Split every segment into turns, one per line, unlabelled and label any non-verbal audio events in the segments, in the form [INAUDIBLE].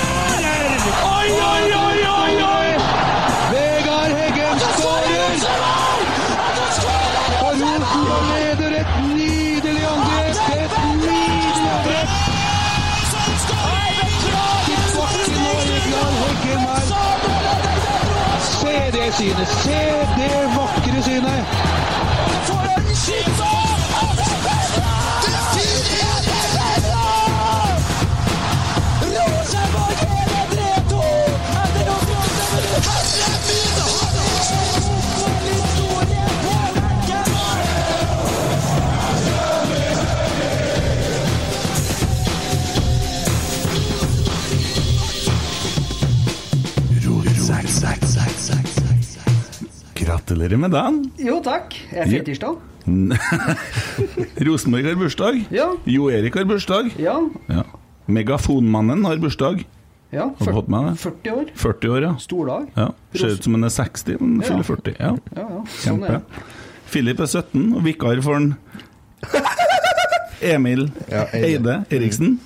Oi, oi, oi, oi, oi! Vegard Heggen skårer! Og Rosenborg leder et nydelig angrep! Et nydelig angrep! Tilbake nå, Vegard Heggen her. Se det synet! Se det vakre synet!
Gratulerer med dagen.
Jo takk. Jeg er
Ja.
firtirsdag.
Rosenborg har bursdag.
Ja.
Jo Erik har bursdag.
Ja.
Ja. Megafonmannen har bursdag.
ja.
Har du fått med deg?
40 år.
40 år, ja.
Stor dag.
ja. Ser ut som han er 60, men fyller 40. Ja.
Ja, ja. Sånn
Kjempe.
er det.
Philip er 17 og vikar for han Emil Eide Eriksen.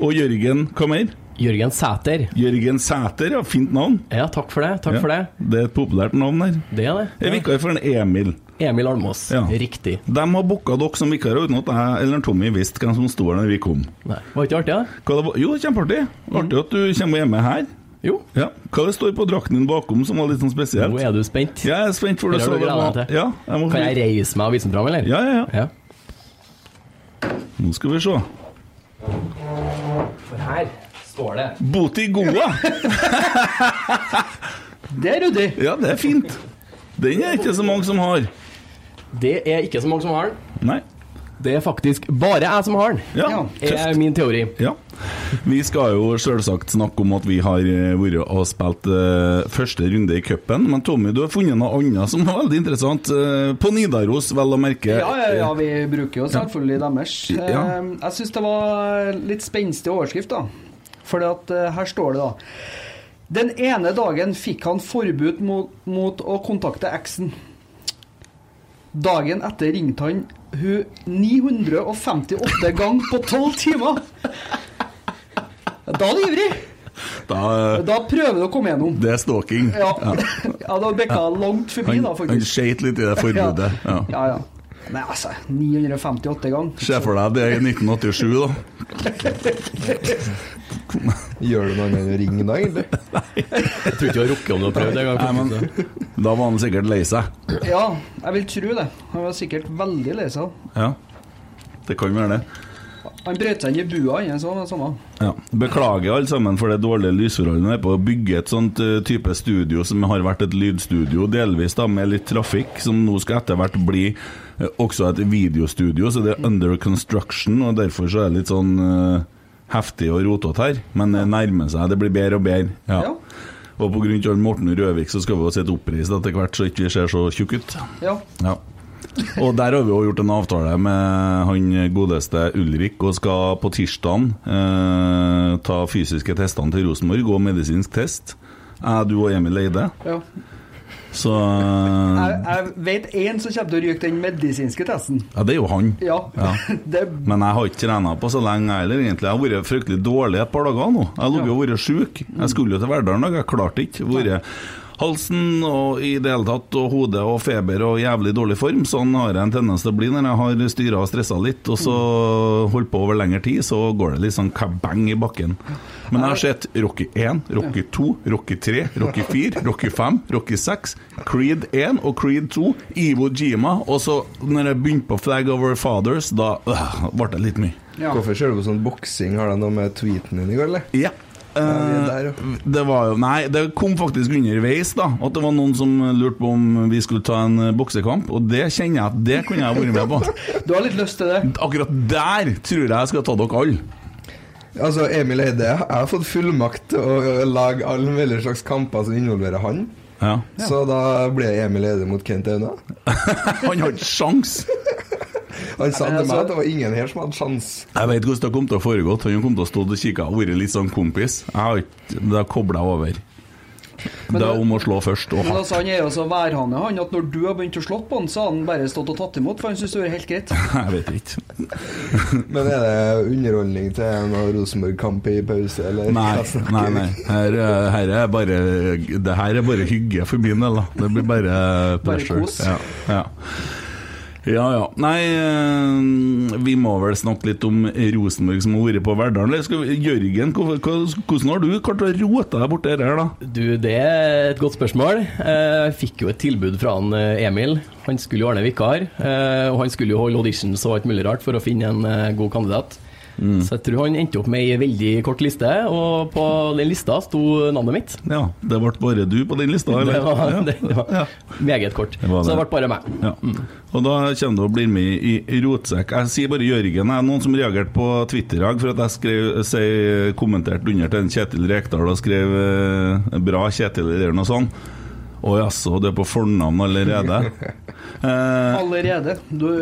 Og Jørgen hva mer?
Jørgen Sæter.
Jørgen Sæter, ja. Fint navn.
Ja, takk for det. Takk
Ja.
for det.
Det er et populært navn der.
Det er det.
Jeg er vikar for en Emil.
Emil Almås.
Ja.
Riktig.
De har booka dere som vikarer uten at jeg eller Tommy visste hvem som sto her når vi kom.
Nei. Var ikke artig, da?
Hva det var? Jo, kjempeartig. Artig at du kommer hjemme her.
Jo.
Ja. Hva det står på drakten din bakom som var litt sånn
Nå
spesielt?
er du spent.
Jeg er spent for det.
Eller har
så
du
det var-
gleda deg til?
Ja, jeg må
Kan jeg reise meg og vise den fram, eller?
Ja, ja, ja.
ja.
Nå skal vi se.
For her står det
Boti Goa!
Det er ryddig.
Ja, det er fint. Den er ikke så mange som har.
Det er ikke så mange som har den.
Nei.
Det er faktisk bare jeg som har den.
Ja.
er
Tøft.
min teori.
Ja. Vi skal jo selvsagt snakke om at vi har eh, vært og spilt eh, første runde i cupen. Men Tommy, du har funnet noe annet som er veldig interessant. eh, på Nidaros, vel å merke.
Ja, ja, ja, vi bruker jo selvfølgelig deres.
Ja.
Eh, Jeg syns det var litt spenstig overskrift, da. For her står det, da. Den ene dagen fikk han forbud mot, mot å kontakte eksen. Dagen etter ringte han hun 958 ganger på 12 timer! Da er du ivrig!
Da, eh,
Da prøver du å komme gjennom.
det er stalking.
Ja, [LAUGHS] ja da bekka langt forbi,
Han,
da,
han
faktisk.
skeit litt i det forbudet. Ja.
Ja, ja. Nei, altså, 958 ganger.
Se for deg det er i 1987, da.
[LAUGHS] Gjør du noe annet enn å ringe da,
[LAUGHS]
egentlig?
Jeg tror ikke du har rukket om du har prøvd det
Nei,
engang.
men, da var han sikkert lei seg.
Ja, jeg vil tro det. Han var sikkert veldig lei seg.
Ja. Det kan være det.
Han brøt seg inn i bua, han så det samme.
Ja. Beklager alle sammen for det dårlige lysforholdet. Jeg er på å bygge et sånt eh, type studio som har vært et lydstudio, delvis da med litt trafikk, som nå skal etter hvert bli eh, også et videostudio. Så det er under construction, og derfor så er det eh, litt sånn eh, heftig og rotete her. Men det nærmer seg. Det blir bedre og bedre. Ja.
Ja.
Og pga. Morten Røvik så skal vi jo sitte oppreist etter hvert, så ikke vi ser så tjukke ut.
Ja.
Ja. Og der har vi jo gjort en avtale med han godeste Ulrik, og skal på tirsdag eh, ta fysiske testene til Rosenborg og medisinsk test. Jeg, du og Emil Eide.
ja.
Så
[LAUGHS] Jeg, jeg vet én som kommer til å ryke den medisinske testen.
Ja, det er jo han.
Ja.
Ja.
[LAUGHS] det,
Men jeg har ikke trena på så lenge jeg heller, egentlig. Jeg har vært fryktelig dårlig et par dager nå. Jeg har ligget og vært sjuk. Jeg skulle jo til Verdalen, og jeg klarte ikke. Vært halsen og i det hele tatt, og hodet og feber og jævlig dårlig form. Sånn har jeg en tendens til å bli når jeg har styra og stressa litt, og så holdt på over lengre tid, så går det litt sånn kabang i bakken. Men jeg har sett Rocky 1, Rocky 2, Rocky 3, Rocky 4, Rocky 5, Rocky 6, Creed 1 og Creed 2, Ivo Jima, og så når jeg begynte på Flag Over Fathers, da øh, ble det litt mye.
ja.
Hvorfor ser du på sånn boksing? Har det noe med tweeten din i går, eller? vi
Ja.
er
Eh,
der, ja.
det var jo Nei, det kom faktisk underveis, da. At det var noen som lurte på om vi skulle ta en eh, boksekamp, og det kjenner jeg at det kunne jeg vært med
[LAUGHS]
på.
Du har litt lyst til det?
Akkurat der tror jeg jeg skal ta dere alle.
Altså, Emil Eide, jeg har fått fullmakt til å å lage alle mulige slags kamper som involverer han.
Ja.
Så da ble Emil Eide mot Kent Aune.
Han har ikke sjans'.
Han sa
men
til meg
altså-
at det var ingen her som hadde sjanse.
Jeg vet hvordan det kom til å foregå. Han kom til å stå og kikke og vært litt sånn kompis. Jeg har ikke, Da kobla jeg over.
Men
det er
du-
om å slå først og
Men
hardt.
altså, han er jo så værhane, han, at når du har begynt å slått på han, så har han bare stått og tatt imot, for han syns det er helt greit.
[LAUGHS] Jeg vet ikke.
Men er det underholdning til en av Rosenborg-kamp i pause, eller?
Nei,
Hva snakker
nei.
vi?
nei. Her, eh, her er bare Det her er bare hygge for min del, da. Det blir bare pleasure.
kos.
Ja, ja. ja ja. Nei, eh, vi må vel snakke litt om Rosenborg som har vært på Verdalen. Eller skal vi- Jørgen, hvorfor- hva- hvordan har du klart å rote deg borti dette her, da?
Du, det er et godt spørsmål. Eh, Jeg fikk jo et tilbud fra han eh, Emil. Han skulle jo ordne vikar, eh, og han skulle jo holde auditions og alt mulig rart for å finne en eh, god kandidat.
Mm.
Så jeg tror han endte opp med ei veldig kort liste, og på den lista sto navnet mitt.
Ja, det ble bare du på den lista, eller?
Det var,
Ja.
[LAUGHS] det var
Ja.
meget kort.
var
Så det
det.
ble bare meg.
Ja. Og da kommer du og blir med i, i rotsekk. Jeg sier bare Jørgen. Jeg er noen som reagerte på Twitter i dag for at jeg skrev, sier, kommenterte under til en Kjetil Rekdal og skrev eh, 'bra Kjetil' eller noe sånt. Å jaså, du er på fornavn allerede? Eh,
Allerede. Du,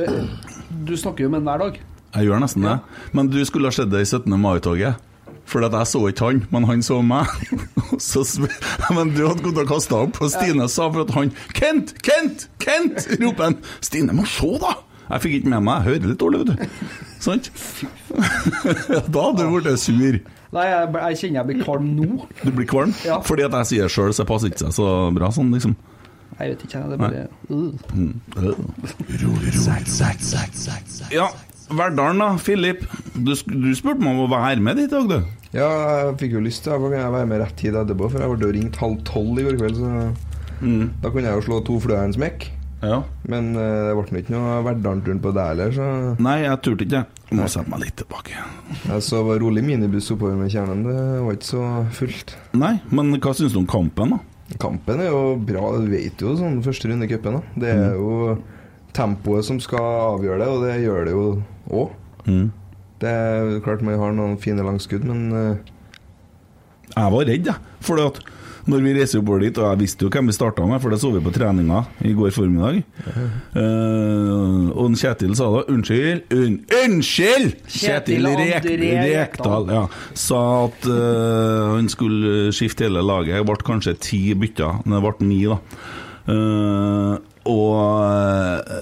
du snakker jo med han hver dag.
jeg gjør nesten det. Men du skulle ha sett det i 17. mai-toget. For at jeg så ikke han, men han så meg. Og så sp- men du hadde gått og kasta opp, og Stine sa for at han Kent! Kent! Kent! roper han. Stine, må se, da! Jeg fikk ikke med meg, jeg hører litt dårlig, vet du. Sant? Ja, da hadde du blitt sur.
Nei, jeg, jeg kjenner jeg blir kvalm nå.
Du blir kvalm.
Ja.
Fordi at jeg sier det sjøl, så det passer ikke seg så bra sånn, liksom.
Jeg vet ikke, jeg. Det er bare uh.
Ja, Verdalen, da. Filip, du, sk- du spurte meg om å være med dit i dag, du.
Ja, jeg fikk jo lyst til det. Da kunne jeg være med rett tid etterpå, for jeg ble jo ringt halv tolv i går kveld, så da kunne jeg jo slå to fluer i en smekk.
Ja.
Men eh, det ble nå ikke noe Verdalen-turen på deg heller, så
Nei, jeg turte ikke. Jeg må sette meg litt tilbake.
jeg så var rolig minibuss oppover med kjernen. Det var ikke så fullt.
Nei, men hva syns du om kampen, da?
Kampen er jo bra, du vet jo sånn første runde i cupen. da. Det er jo tempoet som skal avgjøre det, og det gjør det jo òg. Det er klart man har noen fine langskudd, men eh,
Jeg var redd, jeg. For at når vi reiser oppover dit, og jeg visste jo hvem vi starta med, for det så vi på treninga i går formiddag Eh, Og en Kjetil sa da 'unnskyld', un unnskyld!
Kjetil
Kjetil Rek
André Rekdal.
Rekdal ja, sa at eh, han skulle skifte hele laget. Det ble kanskje ti bytter, men det ble ni, da. Eh, og eh,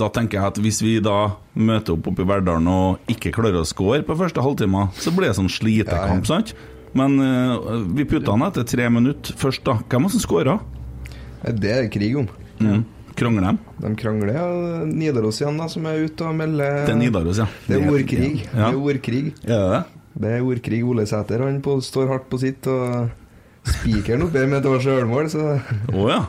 da tenker jeg at hvis vi da møter opp oppe i Verdalen og ikke klarer å score på første halvtime, så blir det sånn slitekamp, sant? Men eh, vi putta han etter tre minutter først, da. Hvem var det som skåra?
det er det krig om.
Mm. Krangler dem?
De krangler. Ja. Nidaros igjen, da, som er ute og melder
Det er Nidaros, ja.
Det er ordkrig. Det
Ja.
er ordkrig.
Er det det?
Det er ordkrig Ole Sæter. Han på, står hardt på sitt, og spikeren oppe med et års ølmål, så
Å ja.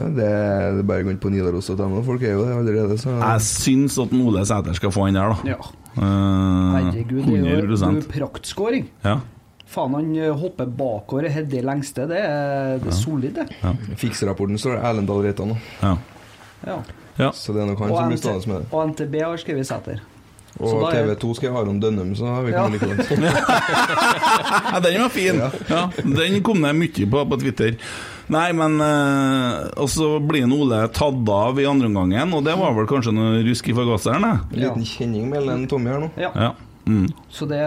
ja, det, det er bare å gå inn på Nidaros og ta med Folk er jo det allerede, så
Jeg syns at Ole Sæter skal få han der, da.
Ja.
Eh,
Herregud, det er jo- det er
100
jo praktskåring.
ja.
Faen, han eh, hopper bakover og header lengste. Det er, det er solid, det.
Fikserapporten står det Erlend Dahl Reitan nå.
ja.
Ja.
Ja.
Så det er nok han
Og,
som blir
NT
stående med det.
og NTB har skrevet Sæter. Så
Og
da er-
TV2 skal ha Aron Dønnum, så har vi ikke noe like langt.
[LAUGHS]
Ja, den var fin! Ja. den kom det mye på på Twitter. Nei, men eh, Og så blir en Ole tatt av i andre omgangen, og det var vel kanskje noe rusk i forgasseren? da?
En liten kjenning mellom en Tommy her nå.
Ja.
Ja. Mm.
Så det,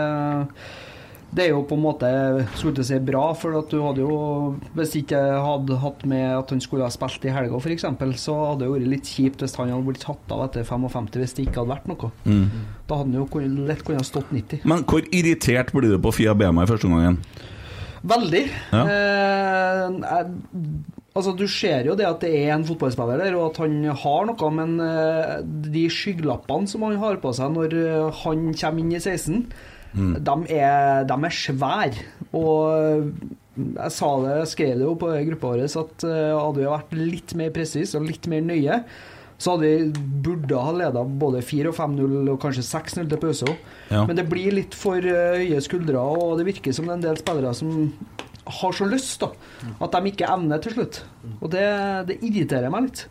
det er jo på en måte skulle jeg si bra, for at du hadde jo Hvis ikke jeg hadde hatt med at han skulle ha spilt i helga, f.eks., så hadde det vært litt kjipt hvis han hadde blitt tatt av etter 55 hvis det ikke hadde vært noe.
Mm.
Da hadde han jo kun- lett kunnet ha stått 90.
Men hvor irritert blir du på Fia Bema i første omgangen?
Veldig.
Ja.
Eh, jeg- altså, du ser jo det at det er en fotballspiller der, og at han har noe, men eh, de skygglappene som han har på seg når eh, han kommer inn i 16, de, er, de er svære. Og eh, jeg sa det, jeg skrev det jo på gruppa vår, at eh, hadde vi vært litt mer presise og litt mer nøye, så hadde vi burde ha leda både 4- og 5-0 og kanskje 6-0 til pause òg.
Ja.
Men det blir litt for eh, høye skuldre, og det virker som det er en del spillere som har så lyst, da. At de ikke evner til slutt. Og det, det irriterer meg litt.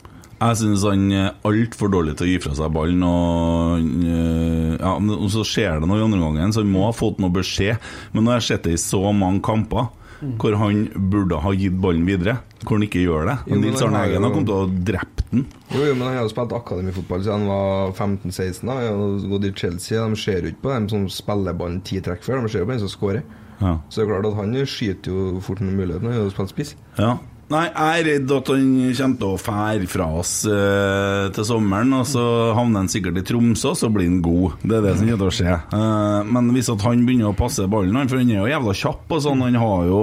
Jeg synes han er altfor dårlig til å gi fra seg ballen, og, han, eh, ja, men- og så skjer det noe i andre gangen, så han må ha fått noe beskjed. Men nå har jeg sett det i så mange kamper
Mm.
hvor han burde ha gitt ballen videre, hvor han ikke gjør det.
Jo, men
Nils
han
Arne
har
Eggen
jo-
har kommet til å ha drept den.
Jo, jo, men han har jo spilt akademifotball siden han var 15-16. da. Han har gått i Chelsea. De ser jo ikke på dem som spiller ballen ti trekk før, de ser jo på den som scorer.
Ja.
Så det er klart at han skyter jo fort en mulighet når han har jo spilt spiss.
Ja. Nei, jeg er redd at han kommer til å fære fra oss eh, til sommeren, og så havner han sikkert i Tromsø, og så blir han god. Det er det som kommer til å skje. Eh, men hvis at han begynner å passe ballen, han, for han er jo jævla kjapp og sånn, han har jo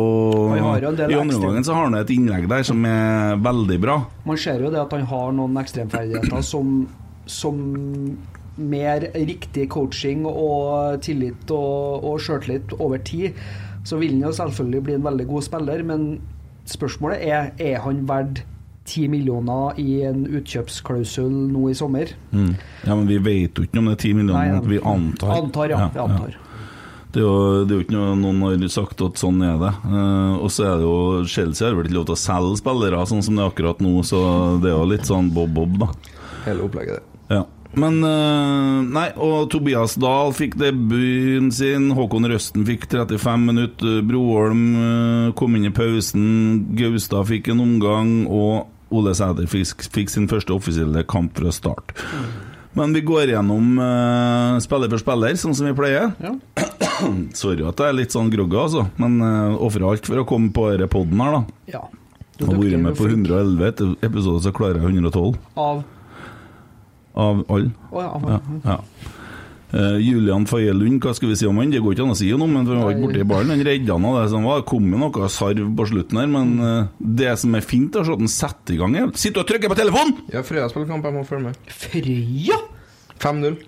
Han har jo en del
I andre
ekstra.
gangen så har han et innlegg der som er veldig bra.
Man ser jo det at han har noen ekstremferdigheter som, som mer riktig coaching og tillit og, og sjøltillit over tid, så vil han jo selvfølgelig bli en veldig god spiller, men spørsmålet er er han verdt 10 millioner i en utkjøpsklausul nå i sommer?
Ja, men vi vet jo ikke om det er ti millioner,
Nei,
men vi antar.
Antar, ja. Vi antar.
Det er jo, det er jo ikke noe noen har sagt at sånn er det. Eh, og så er det jo Chelsea har vel ikke lov til å selge spillere sånn som det er akkurat nå, så det er jo litt sånn bob-bob, da.
Hele opplegget der.
Ja. Men eh, Nei, og Tobias Dahl fikk debuten sin. Håkon Røsten fikk 35 minutter. Broholm eh, kom inn i pausen. Gaustad fikk en omgang. Og Ole Sæter fikk, fikk sin første offisielle kamp fra start. Men vi går gjennom eh, spiller for spiller, sånn som vi pleier.
Ja.
Sorry at jeg er litt sånn groggy, altså, men uh, ofrer alt for å komme på denne poden her, da.
Ja.
Jeg har vært med på 111 episoder, så klarer jeg 112
Av
av alle.
Å ja. av-
Ja, ja. Eh, Julian Faye Lund, hva skal vi si om han? Det går ikke an å si noe, men han var ikke borti ballen. Han redda han av det som var. Det kom med noe sarv på slutten her, men eh, det som er fint, er at han setter i gang her. Sitter og trykker på telefonen!
Ja, Frøya spiller kamp, jeg må følge med.
Frøya!
5-0.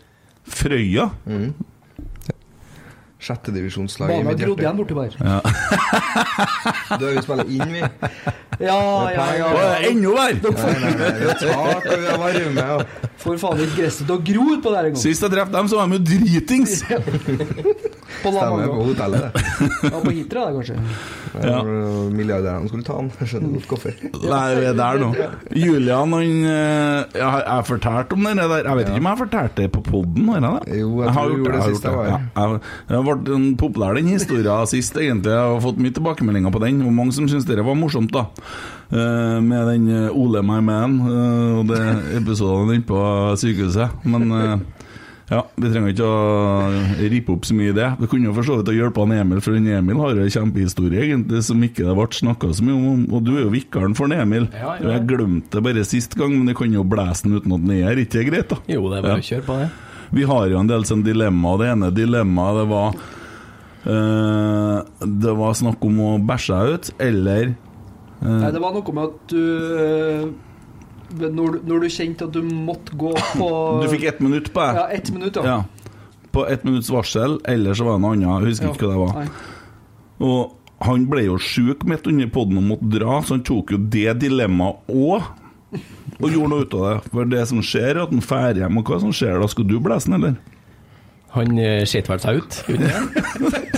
Frøya.
Sjettedivisjonslaget i
Banen
mitt hjerte.
grodde igjen borti der. Ja,
Det er vi spiller inn, vi. Nei,
ja, ja.
Å,
ja.
Enda verre!
nei, nei, vi har tak og vi har varme. Og...
Får faen ikke gresset til å gro utpå der engang.
Sist jeg traff dem, så var de jo dritings!
Stemmer
På
på
Lamanga.
hotellet, det.
Ja, på Hitra, da,
Eh.
kanskje.
Ja. Milliardærene skulle ta han. Jeg skjønner godt hvorfor.
Nei, vi er der nå. Julian, han eh, Jeg har jeg fortalt om det der. Jeg vet ikke om jeg har fortalt det på poden? Jo,
Jo, jeg tror du gjorde det sist jeg var her.
Jeg jeg ble en populær den historien sist, egentlig. Jeg har fått mye tilbakemeldinger på den. Og mange som syns det var morsomt, da. Eh, med den eh, Ole my man eh, og det episoden inne på sykehuset. Men eh, ja, vi trenger ikke å rippe opp så mye i det. Vi kunne jo for så vidt å hjelpe han Emil, for han Emil har jo en kjempehistorie egentlig som ikke det ble snakka så mye om. Og du er jo vikaren for han Emil.
Ja, ja.
Og Jeg glemte det bare sist gang, men du kan jo blæse den uten at den er her. Ikke det greit, da?
Jo, det er bare å kjøre på det.
Vi har jo en del sånn dilemma, og det ene dilemmaet det var eh, Det var snakk om å bæsje ut, eller
Nei, det var noe med at du øh, når, du- når du kjente at du måtte gå på
Du fikk ett minutt på
Ja,
det.
ett minutt, ja.
Ja. På ett minutts varsel, eller så var det noe annet. Jeg husker ikke hva det var.
Nei.
Og han ble jo sjuk midt under poden og måtte dra, så han tok jo det dilemmaet òg. Og gjorde noe ut av det. For det som skjer, er at han drar hjem. Og hva som skjer da? Skal du blæse den, eller?
Han eh, ser vel seg ut. gjør han ikke det?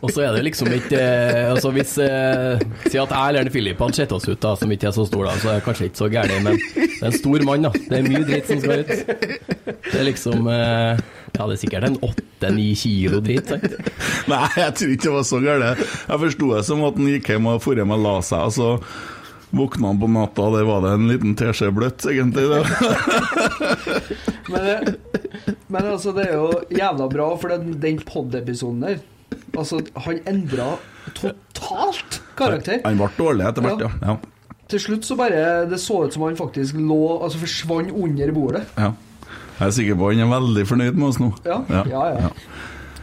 Og så er det liksom ikke eh, Altså Hvis eh, Si at jeg eller Filip hadde sett oss ut, da som ikke er så stor, da, så er det kanskje ikke så gærent, men det er en stor mann, da. Det er mye dritt som skal ut. Det er liksom eh, Ja, det er sikkert en åtte-ni kilo dritt. sant?
[LAUGHS] Nei, jeg tror ikke det var så galt. Jeg forsto det som at han gikk hjem og for hjem og la seg, og så våkna han på natta, og der var det en liten teskje bløtt, egentlig. Det.
Men, det- men altså, det er jo jævla bra, for den, den pod-episoden der Altså, han endra totalt karakter.
Han ble dårlig etter hvert, ja. ja.
Til slutt så bare Det så ut som han faktisk lå Altså forsvant under bordet.
ja. Jeg er sikker på han er veldig fornøyd med oss nå.
Ja, ja, ja.
ja.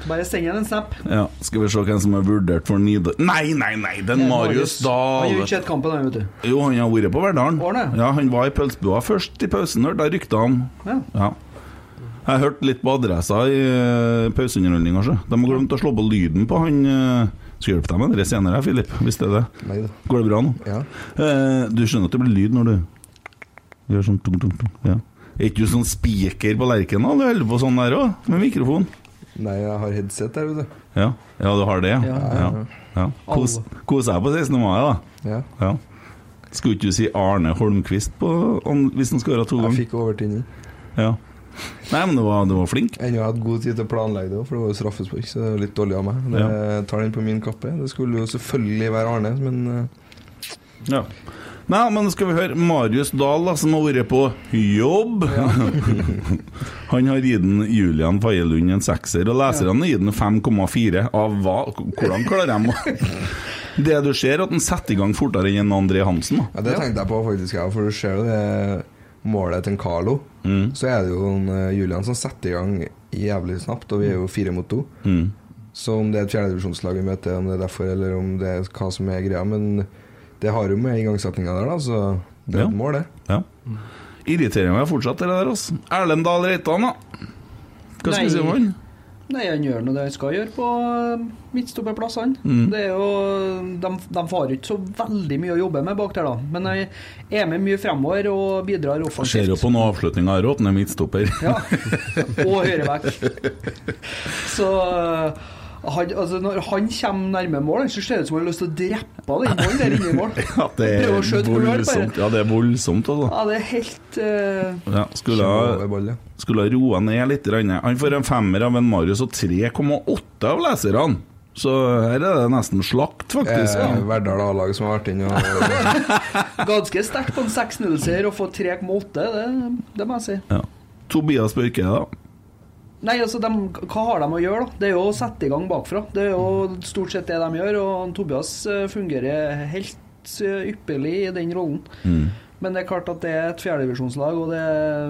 Bare send ham en snap.
Ja, Skal vi se hvem som er vurdert for Nidar... Nei, nei, nei, det er Marius
Han
Dahl!
gjør ikke et kampen, han, vet du.
Jo, han har vært på Verdalen.
Var han det?
Ja, han var i pølsebua først i pausen, hørte jeg rykter om.
Ja.
Ja. Jeg hørte litt på adressa i uh, pauseunderholdninga, sjø. De har glemt å slå på lyden på han eh, Skal hjelpe deg med det senere, Filip, hvis det er det.
Nei da.
Går det bra nå?
Ja.
Eh, du skjønner at det blir lyd når du gjør sånn tung, tung, tung. Ja. Er ikke du sånn spiker på Lerkendal? Du holder på sånn der òg, med mikrofon.
Nei, jeg har headset der, vet du.
Ja, ja du har det, ja.
Ja.
ja. ja. Kos, kos deg på 16. mai, da.
Ja.
Ja. Skulle ikke du si Arne Holmquist på, om, hvis han skåra to
Jeg
ganger?
fikk overtenning.
Ja. Nei, men du var, du var flink.
Ennå har jeg hatt god tid til å planlegge det, også, for det var jo straffespark, så det er litt dårlig av meg. Det tar den på min kappe. Det skulle jo selvfølgelig være Arne, men eh,
Ja. Nei, men skal vi høre Marius Dahl, da, som har vært på jobb. [LAUGHS] han har gitt den Julian Faye Lund en sekser, og leserne har gitt den 5,4. Av hva? Hvordan klarer de å [LAUGHS] Det du ser, at han setter i gang fortere enn André Hansen. da.
ja, det tenkte jeg på faktisk, jeg, for du ser jo det målet til en Carlo.
Mm.
Så er det jo en, eh, Julian som setter i gang jævlig snapt, og vi er jo fire mot to.
Mm.
Så om det er et fjerdedivisjonslag vi møter, om det er derfor, eller om det er hva som er greia, men det har jo med igangsettinga der, da, så det er
Ja.
et mål, det.
Ja. Irriterer meg fortsatt, det der. Altså. Erlend Dahl Reitan, da. Hva skal vi si om
Nei.
han?
Nei, han gjør nå det han skal gjøre på eh, midtstopperplass, han.
Mm.
Det er jo De, de får ikke så veldig mye å jobbe med bak der, da. Men han er med mye fremover og bidrar
Ser jo
offensivt.
på noen avslutninger her òg, at han er midtstopper. [LAUGHS]
Ja. Og høyreback. Så eh, han, altså, når han kommer nærme mål, så ser det ut som han har lyst til å drepe den ballen der inne i mål.
Ja, det er
Prøver å skjøte hvor du har det, bare.
voldsomt. Ja, det er voldsomt altså.
Ja, det er helt eh,
Ja, skulle
Over
ha,
ball, ja.
skulle ha roa ned litt. grann. Han får en femmer av en Marius og 3,8 av leserne. Så her er det nesten slakt, faktisk.
Eh, Verdal A-lag som har vært inne
[LAUGHS]
og
ganske sterkt på en 6-0-seier og få 3,8. Det, det må jeg si.
Ja. Tobias Børke, da.
Nei, altså, dem- Hva har de å gjøre? da? Det er jo å sette i gang bakfra. Det er jo stort sett det de gjør. Og Tobias eh, fungerer helt eh, ypperlig i den rollen. Men det er klart at det er et fjerdedivisjonslag, og det er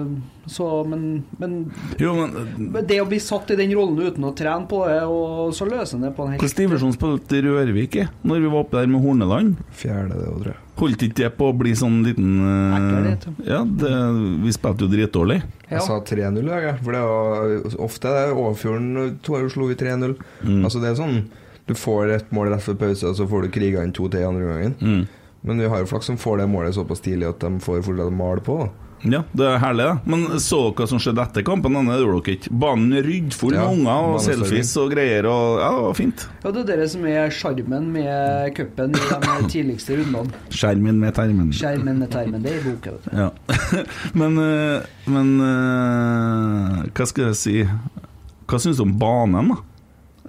så Men, men
Jo, men
men det å bli satt i den rollen uten å trene på det, og så løser han det på en helt
hvordan divisjon spilte Rørvik i når vi var oppe der med Horneland?
fjerde det òg, tror jeg.
Holdt ikke det på å bli sånn liten eh,
Erter, det heter.
Ja, det, vi spilte jo dritdårlig.
Ja.
Jeg sa 3-0 i dag, jeg, for det var ofte er det Overfjorden to år slo vi 3-0.
Mm.
Altså det er sånn Du får et mål rett før pause, og så får du kriga inn to til andre gangen.
Mm.
Men vi har jo flaks som får det målet såpass tidlig at de får fortsatt male på. da.
Ja, det er herlig, da. Men så dere hva som skjedde etter kampen? Denne gjorde dere ikke. Banen er ryddfull
Ja,
med unger og
baneserving.
selfies og greier. Og, ja, det var fint.
Ja, det er det som er sjarmen med cupen i de tidligste rundene.
Skjermen med termen.
Skjermen med termen, det er i boka. vet du.
Ja. [LAUGHS] men eh, men eh, hva skal jeg si Hva syns du om banen, da?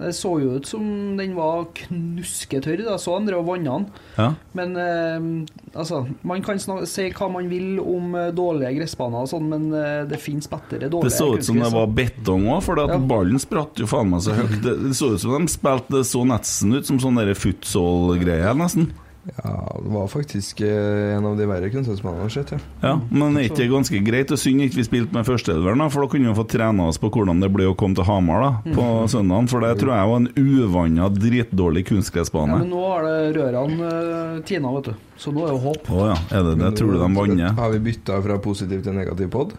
Det så jo ut som den var knusketørr. da. Så han drev og vanna den.
Ja.
Men eh, altså, man kan snak- si hva man vil om eh, dårlige gressbaner og sånn, men eh, det finnes bedre dårlige
Det så ut som det
kunstgress.
var betong òg, for at
Ja.
ballen spratt jo faen meg så høyt. Det det så ut som de spilte Det så nesten ut som sånn futsal-greie, nesten.
Ja, det var faktisk eh, en av de verre kunnskapsmennene jeg har sett, ja.
Ja,
Mm.
Men er ikke det ganske greit? Og synd ikke vi spilte med førsteelveren, da, for da kunne vi fått trena oss på hvordan det ble å komme til Hamar da, på
Mm.
søndagen. For det tror jeg var en uvanna, dritdårlig
Ja,
kunstgressbane.
men nå har det rørene eh, tina, vet du. Så nå er det håp.
Å ja, er det det? Tror du de vanner?
Har vi bytta fra positiv til negativ pod?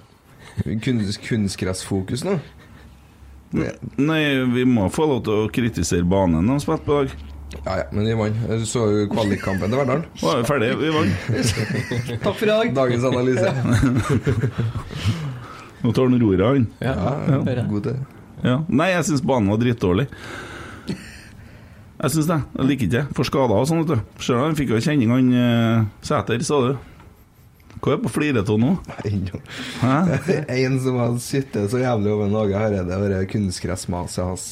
Kunstgressfokus nå?
Nei, vi må få lov til å kritisere banen de spilte på i dag.
Ja ja, men vi vant. Du så jo kvalikkampen til Verdalen.
Nå er vi ferdige, vi vant.
Takk for i dag.
Dagens analyse.
[LAUGHS] Nå tar han roret, han.
Ja,
hører jeg.
god til.
Ja. Nei, jeg syns banen var dritdårlig. Jeg syns det. Jeg liker ikke det. Får skader og sånn, vet du. Ser du, han fikk jo kjenning, han eh, Sæter, sa du. Hva er det på fliretå nå?
Ennå.
Hæ?
[LAUGHS] En som har sittet så jævlig over Nage Hareide, og det er kunstgressmaset hans.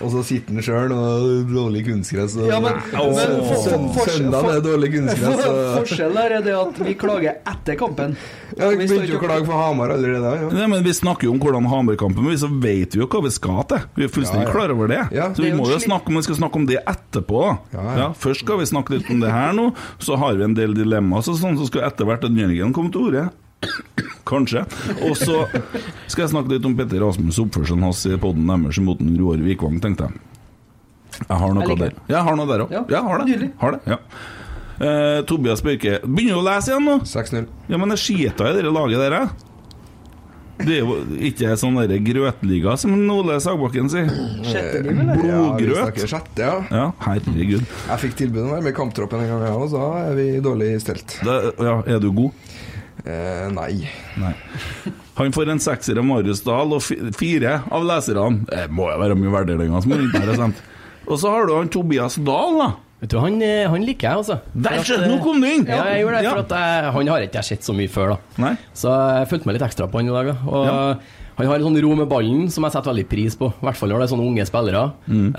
Og så sitter han sjøl og dårlig kunstgress. Og
Ja, men-
og
men
søn-
for-
søn-
for- for-
søndag det er dårlig kunstgress. Og,
Forskjellen her er det at vi klager etter kampen.
ja, jeg
Vi står
begynte jo
ikke-
å klage for Hamar allerede da. Ja.
Nei, men Vi snakker jo om hvordan Hamar-kampen men så vet vi jo hva vi skal til. Vi er fullstendig
Ja, ja.
klar over det.
Ja.
så vi
Det er jo
må jo
slik-
snakke om, vi skal snakke om det etterpå.
Ja, ja.
Først skal vi snakke litt om det her nå, så har vi en del dilemmaer, så sånn så skal etter hvert at Jørgen komme til orde. [COUGHS] Kanskje. Og så skal jeg snakke litt om Petter Rasmus' oppførselen hans i podden deres mot den Roar Vikvang, tenkte jeg. Jeg har noe
Jeg liker
der. Jeg har noe der òg.
Ja,
Ja, jeg har det.
nydelig.
Har det. Ja. Eh, Tobias Børke, begynner du å lese igjen nå?
6-0.
Ja, men jeg skiter i det laget der, jeg. Det er jo ikke sånn der grøtliga som Ole Sagbakken sier.
Sjette liv,
Ja,
eller?
vi
Blodgrøt.
snakker sjette, ja.
Ja, herregud.
Jeg fikk tilbud om å være med i kamptroppen en gang, jeg òg, så da er vi dårlig stelt.
Da, ja, er du god?
Eh, nei.
Nei. Han får en sekser av Marius Dahl og fi- fire av leserne. Det må jo være mye verdilønner som er rundt her, sant? Og så har du han Tobias Dahl, da.
Vet du, han, eh, han liker jeg, altså.
Der
For at,
skjøt- nå
eh,
kom du inn!
Ja, jeg gjorde det,
Ja.
for at jeg, han har ikke jeg sett så mye før, da.
Nei.
Så jeg fulgte meg litt ekstra på han i dag. da. Og
Ja.
Han har en sånn ro med ballen som jeg setter veldig pris på, i hvert fall når det er sånne unge spillere.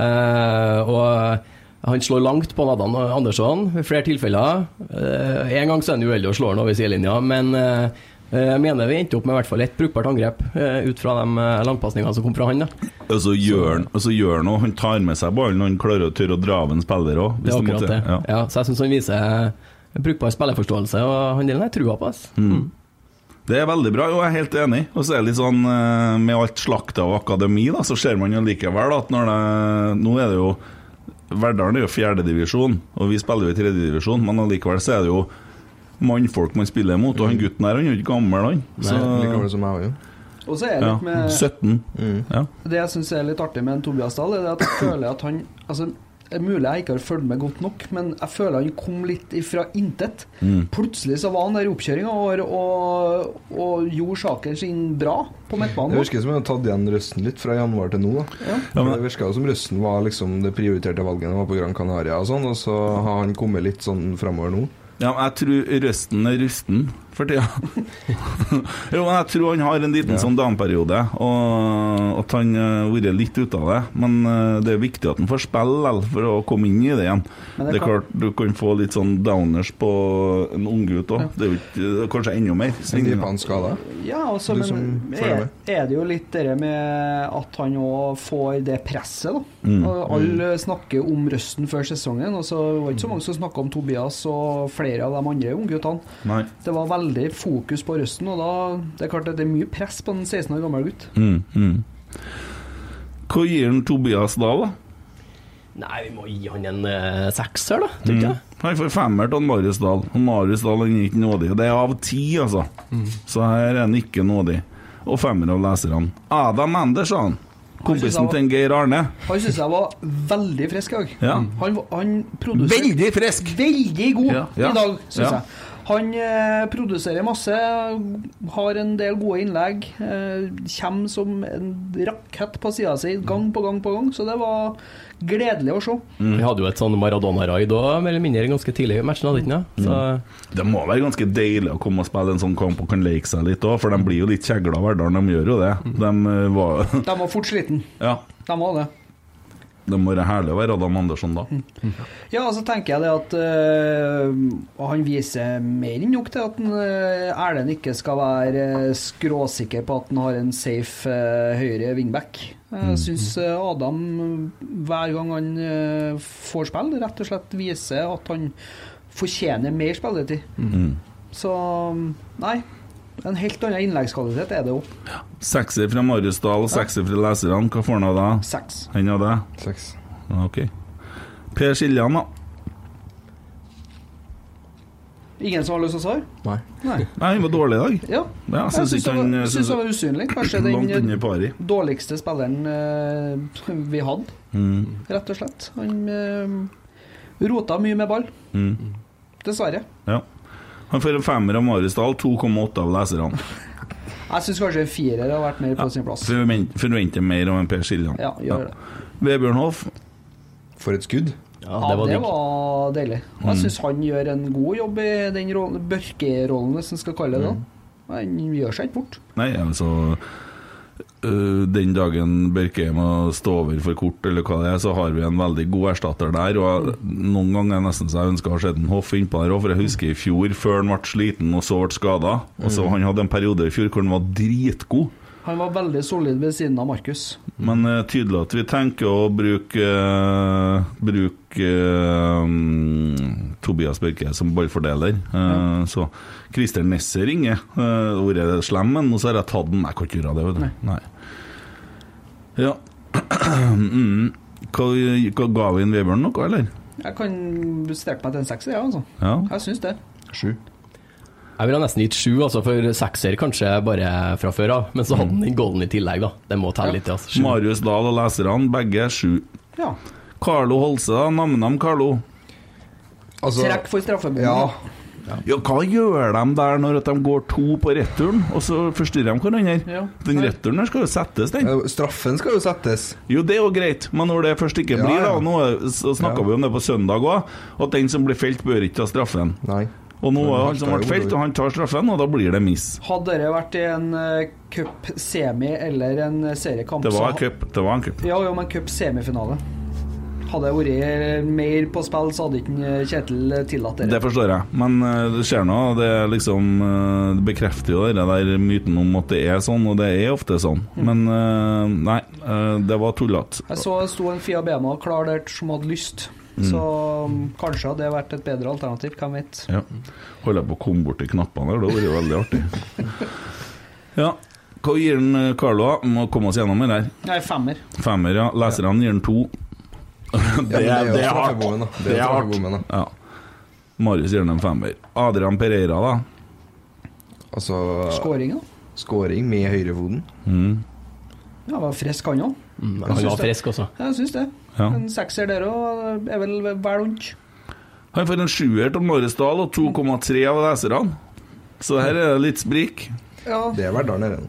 Eh, og han slår langt på Nadan Andersson ved flere tilfeller. Eh, en gang så er han uheldig og slår han over sidelinja, men eh, jeg mener vi endte opp med i hvert fall et brukbart angrep eh, ut fra de eh, langpasningene som kom fra han. da
Og så gjør han og så gjør han noe. Han tar med seg ballen, og han klarer å tørre å dra av en spiller òg.
Det er akkurat det. Ja. så jeg syns han viser brukbar spillerforståelse, og han delen har jeg trua på. ass. Mm.
Det er veldig bra, og jeg er helt enig. Og så er det litt sånn eh, med alt slakta og akademi, da, så ser man jo likevel at når det Nå er det jo Verdalen er jo fjerdedivisjon, og vi spiller jo i tredjedivisjon, men allikevel så er det jo mannfolk man spiller mot, og han gutten her, han er jo ikke gammel, han. Så,
Like gammel som jeg òg, jo.
Og så er det
ja,
litt med
17. Ja.
Det jeg syns er litt artig med en Tobias Dahl, er det at jeg føler at han altså, det er Mulig jeg ikke har fulgt med godt nok, men jeg føler han kom litt ifra intet.
Mm.
Plutselig så var han der i oppkjøringa og, og, og gjorde saken sin bra på midtbanen.
Det virker som jeg har tatt igjen røsten litt fra januar til nå. da
Ja,
For
men-
Det virka som røsten var liksom det prioriterte valget når han var på Gran Canaria, og sånn Og så har han kommet litt sånn framover nå.
Ja, men jeg tror røsten er rusten for tida. [LAUGHS] jo, men jeg tror han har en liten sånn down-periode, og at han har vært litt ute av det. Men eh, det er viktig at han får spille likevel for å komme inn i det igjen.
Men
Det
det
er
kan-
klart du kan få litt sånn downers på en unggutt òg. Det er jo ikke Kanskje enda mer.
Griper han skada?
Ja, altså,
Du
men
som følger
er,
med.
er det jo litt det med at han òg får det presset, da.
Mm.
Og Alle snakker om røsten før sesongen, og så var det ikke så mange som snakka om Tobias og flere av de andre ungguttene.
Nei.
Det var veldig fokus på røsten, og da Det er klart at det er mye press på en 16 år gammel gutt.
Mm, mm. Hva gir han Tobias da, da?
Nei, vi må gi han en eh, sekser, da. Tror ikke jeg.
Han får femmer til han Marius Dahl. Han Marius Dahl han er ikke nådig. og Det er av ti, altså. Så her er han ikke nådig. Og femmer av leserne. Adam Andersson, kompisen til en Geir Arne.
Han syns jeg var veldig frisk i dag.
Ja.
Han, han produserer
frisk!
veldig god
Ja. Ja.
i dag, syns
Ja.
jeg. Han eh, produserer masse, har en del gode innlegg. Eh, kommer som en rakett på sida si gang på gang på gang, så det var gledelig å se.
Mm.
Vi hadde jo et sånn Maradona-raid òg, mer eller mindre ganske tidlig i matchen. hadde ikke det? Så Mm.
Det må være ganske deilig å komme og spille en sånn kamp og kan leke seg litt òg, for de blir jo litt kjegla av Verdalen. De gjør jo det. De eh, var [LAUGHS]
De var fort sliten.
Ja.
De var det.
Det må være herlig å være Adam Andersson da.
Ja, og så tenker jeg det at øh, han viser mer enn nok til at han, øh, Erlend ikke skal være øh, skråsikker på at han har en safe øh, høyre wingback. Jeg syns Adam, øh, hver gang han øh, får spill, rett og slett viser at han fortjener mer spilletid.
Mm.
Så nei. En helt annen innleggskvalitet er det jo.
Sekser fra Marius Dahl, sekser fra leserne. Hva får han av deg?
Seks.
Han av deg?
Seks.
Ja, Ok. Per Siljan, da.
Ingen som har lyst til å svare?
Nei.
Nei.
Nei, han var dårlig i dag.
Ja.
Ja, jeg syns
jeg syns
ikke
det
han
var-
synes-
syns det var usynlig. Kanskje
[CLEARS THROAT] Langt
den
under pari.
dårligste spilleren eh, vi hadde, rett og slett. Han eh, rota mye med ball. Dessverre.
Ja. Han får en femmer av Marius Dahl, 2,8 av leserne.
Jeg syns kanskje en firer har vært mer på sin plass.
Forvent- Forventer mer av en Per Siljan.
Ja, gjør det.
Vebjørn Hoff,
For et skudd.
Ja,
Ja,
det var digg.
deilig. Og jeg syns han gjør en god jobb i den rollen- børkerollen, hvis en skal kalle det det. Han gjør seg ikke bort.
Nei, altså øh, Den dagen Børke må stå over for kort, eller hva det er, så har vi en veldig god erstatter der. Og jeg- Noen ganger er det nesten så jeg ønsker å ha sett en Hoff innpå der òg, for jeg husker i fjor, før han ble sliten og så ble skada Han hadde en periode i fjor hvor han var dritgod.
Han var veldig solid ved siden av Markus.
Men uh, tydelig at vi tenker å bruke eh, Bruke eh, mm, Tobias Børke som ballfordeler. Eh, Så Christer Nesser ringer. Uh, Vært slem, men nå så har jeg tatt den. Jeg kan ikke gjøre det, vet du. Nei. Ja. [CLEARS THROAT] mm. Hva, hva ga vi en Vebjørn noe, eller?
Jeg kan strekke meg til en sekser, jeg, altså.
Ja.
Jeg syns det.
Sju.
Jeg ville nesten gitt sju, altså, for sekser kanskje bare fra før av. Men så hadde han den golden i tillegg, da. Det må telle litt, altså. Sju.
Marius Dahl og leserne, begge sju.
Ja.
Carlo Holse, da. Namnam Carlo.
Altså,
Trekk for straffebommen.
ja,
Ja, hva gjør de der når at de går to på returen, og så forstyrrer de hverandre?
Ja.
Den returen der skal jo settes, den.
eh, straffen skal jo settes.
Jo, det er jo greit, men når det først ikke
Ja,
blir, da,
ja.
og nå er- så snakka
Ja.
vi om det på søndag òg, at den som blir felt, bør ikke ta straffen.
Nei.
Og nå
Men
er
han
han som
tar
ble
jo
felt,
det.
og han tar straffen, og da blir det miss.
Hadde dere vært i en eh, cup-semi eller en seriekamp
Det var
så-
en cup. Det var en cup.
Ja, ja, men cup-semifinale. Hadde det vært mer på spill, så hadde ikke en Kjetil tillatt
Det
det.
forstår jeg, men eh, det skjer noe. Det er liksom eh, Det bekrefter jo det der myten om at det er sånn, og det er ofte sånn.
Mm.
Men eh, nei, eh, det var tullete.
Jeg så det sto en Fia Bema klar der som hadde lyst, så mm, kanskje hadde det vært et bedre alternativ, hvem vet.
Ja. Holder jeg på å komme borti knappene her, det hadde vært veldig artig. Ja. Hva gir den eh, Carlo? da? Må komme oss gjennom det her.
Nei, femmer.
Femmer, ja. Leserne gir den to. [LAUGHS]
Ja, men jo
er- det er hardt.
straffebommen, da. Det er straffebommen, da.
Ja. Marius gir den en femmer. Adrian Pereira, da.
Altså,
Skåringa?
scoring med høyrefoten.
Ja, var frisk han òg.
Mm, Han var frisk, altså.
Jeg syns det.
Ja.
En sekser der òg er vel vel unnt.
Han får en sjuer til Marius Dahl og 2,3 av leserne. Så her er det litt sprik.
Ja.
Det er Verdal nede.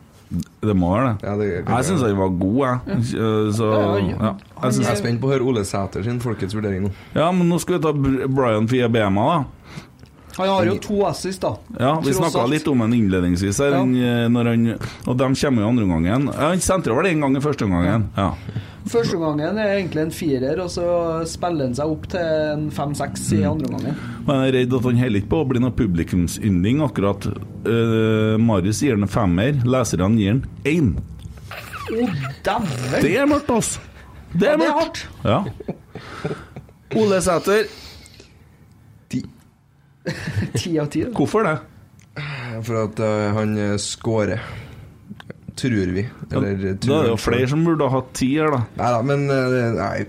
Det må være det.
Ja, det kan
jeg syns han var god, jeg. Eh, Så, ja. Jeg
Jeg er
synes,
spent på å høre Ole Sæter sin folkets vurdering nå.
ja, men nå skal vi ta Br- Brian Fiabema, da.
Han har jo to assist, da.
Ja, vi
Tross
snakka
alt.
litt om den innledningsvis her,
Ja.
han, eh, når han, og de kommer jo andre omgangen. Ja, Han sentrer vel én gang i første omgangen. Ja.
Første gangen er egentlig en firer, og så spiller han seg opp til en fem-seks
Mm.
i andre gangen.
Men jeg er redd at han heller ikke på å bli noen publikumsynding akkurat. Eh, Marius gir den en femmer, leserne gir den én.
Å, dæven!
Det er mørkt, altså! Det
Ja,
er
det er
mørkt. Ja. Ole Sæter,
Ti av ti. da.
hvorfor det?
For at eh, han eh, scorer. Tror vi. Eller eh,
Da er det jo flere som burde ha hatt ti her, da.
Nei da, men eh, nei,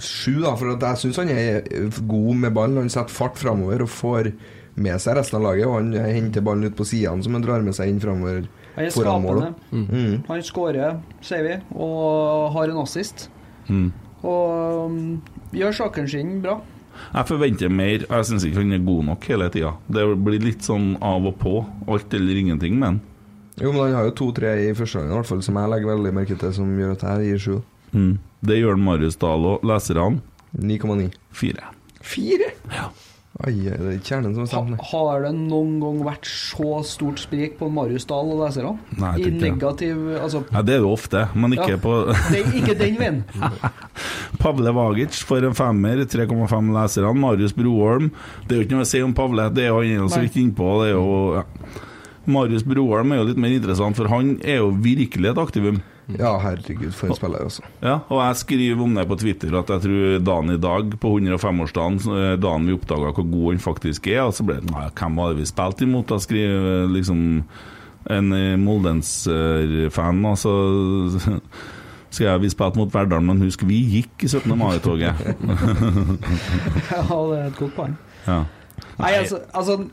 sju, da. For at jeg syns han er eh, god med ballen. Han setter fart framover og får med seg resten av laget. Og han eh, henter ballen ut på sidene som han drar med seg inn framover
Han er
foran
skapende.
målet. Mm.
Han skårer, sier vi, og har en assist.
Mm.
Og mm, gjør sakene sine bra.
Jeg forventer mer. Jeg syns ikke han er god nok hele tida. Det blir litt sånn av og på. Alt eller ingenting med han.
Jo, men han har jo to-tre i første gangen, i hvert fall, som jeg legger veldig merke til, som gjør at jeg gir sju.
Mm. Det gjør han Marius Dahl òg. Leserne
9,9.
fire.
Fire? Ja. Ai, det er kjernen som har
Ha,
stemt ned.
har det noen gang vært så stort sprik på Marius Dahl og leserne?
Nei, jeg
I
tror ikke det.
negativ Altså,
Ja, det er jo ofte, men ikke
Ja.
på [LAUGHS]
det er ikke den veien.
Pavle Vagic for en femmer, 3,5 leserne. Marius Broholm Det er jo ikke noe å si om Pavle, det er jo han er jo så
Nei.
vidt innpå. Det er jo, ja. Marius Broholm er jo litt mer interessant, for han er jo virkelig et aktivum.
Ja, herregud, for en spiller, altså.
Ja, og jeg skriver om det på Twitter at jeg tror dagen i dag, på 105-årsdagen, så- dagen vi oppdaga hvor god han faktisk er, og så ble det Nei, hvem var det vi spilte imot? Da skriver liksom en eh, Moldens-fan, altså skal jeg, Vi spilte mot Verdal, men husk, vi gikk i 17. mai-toget.
Ja, det er et godt poeng.
Ja.
Nei, altså, altså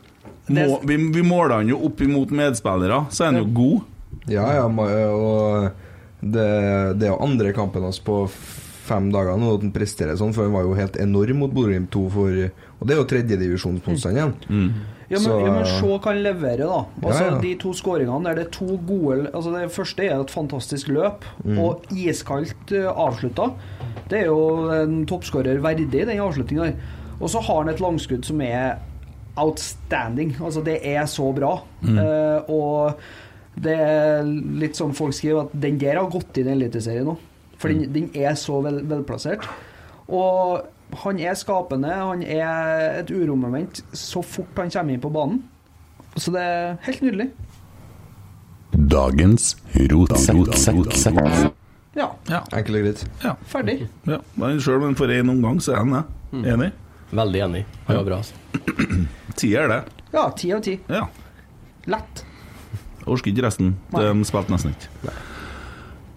det,
Må, vi, vi måler han jo opp imot medspillere, så er han jo god.
Ja, ja, ma- og det, det er jo andre kampen hans på f- fem dager nå at han presterer sånn, for han var jo helt enorm mot Bodø Glimt 2, for, og det er jo tredjedivisjonsmotstand igjen.
Ja, men,
Så-
ja, men se hva han leverer, da. Altså,
Ja, ja.
De to skåringene der det er to gode altså Det første er et fantastisk løp,
Mm.
og iskaldt eh, avslutta. Det er jo en toppskårer verdig, den avslutninga der. Og så har han et langskudd som er outstanding. Altså, det er så bra.
Mm.
Eh, og det er litt som folk skriver, at den der har gått inn i Eliteserien nå. For
Mm.
den, den er så vel, velplassert. Og han er skapende, han er et uromoment så fort han kommer inn på banen. Så det er helt nydelig.
Dagens rotsekk.
Ja,
Enkelt og greit.
ferdig.
Ja, men selv om han får én omgang, så er han det. Enig?
Veldig enig. Han var bra, altså.
Tier, det.
Ja, ti av ti.
Ja.
Lett.
Orker ikke resten. De spilte nesten ikke.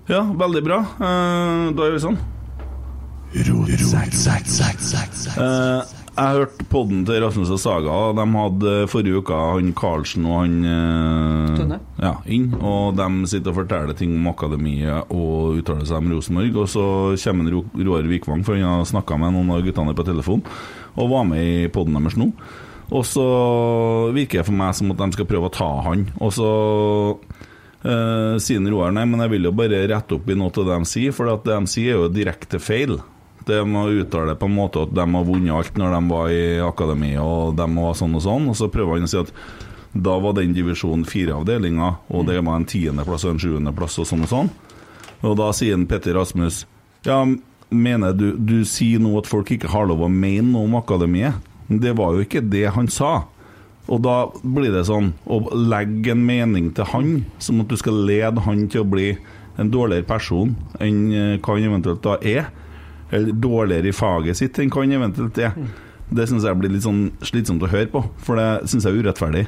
Ja, veldig bra. Eh, da gjør vi sånn. Eh, jeg hørte podden til Rasmus og Saga. og De hadde eh, forrige uke han Karlsen og han eh,
Tønne.
Ja, inn. Og de sitter og forteller ting om akademiet og uttaler seg om Rosenborg. Og så kommer en Ro- Roar Vikvang, for han har snakka med noen av guttene på telefon, og var med i podden deres nå. Og så virker det for meg som at de skal prøve å ta han. Og så Eh, siden Roar, nei, men jeg vil jo bare rette opp i noe av det de sier, for at det de sier er jo direkte feil. De uttaler på en måte at de har vunnet alt når de var i akademiet, og de var sånn og sånn, og så prøver han å si at da var den divisjon fire-avdelinga, og det var en tiendeplass og en sjuendeplass og sånn og sånn. Og da sier en Petter Rasmus Ja, mener du Du sier nå at folk ikke har lov å mene noe om akademiet. Men Det var jo ikke det han sa. Og da blir det sånn å legge en mening til han, som at du skal lede han til å bli en dårligere person enn eh, hva han eventuelt da er. Eller dårligere i faget sitt enn hva han eventuelt er. Det syns jeg blir litt sånn slitsomt å høre på, for det syns jeg er urettferdig.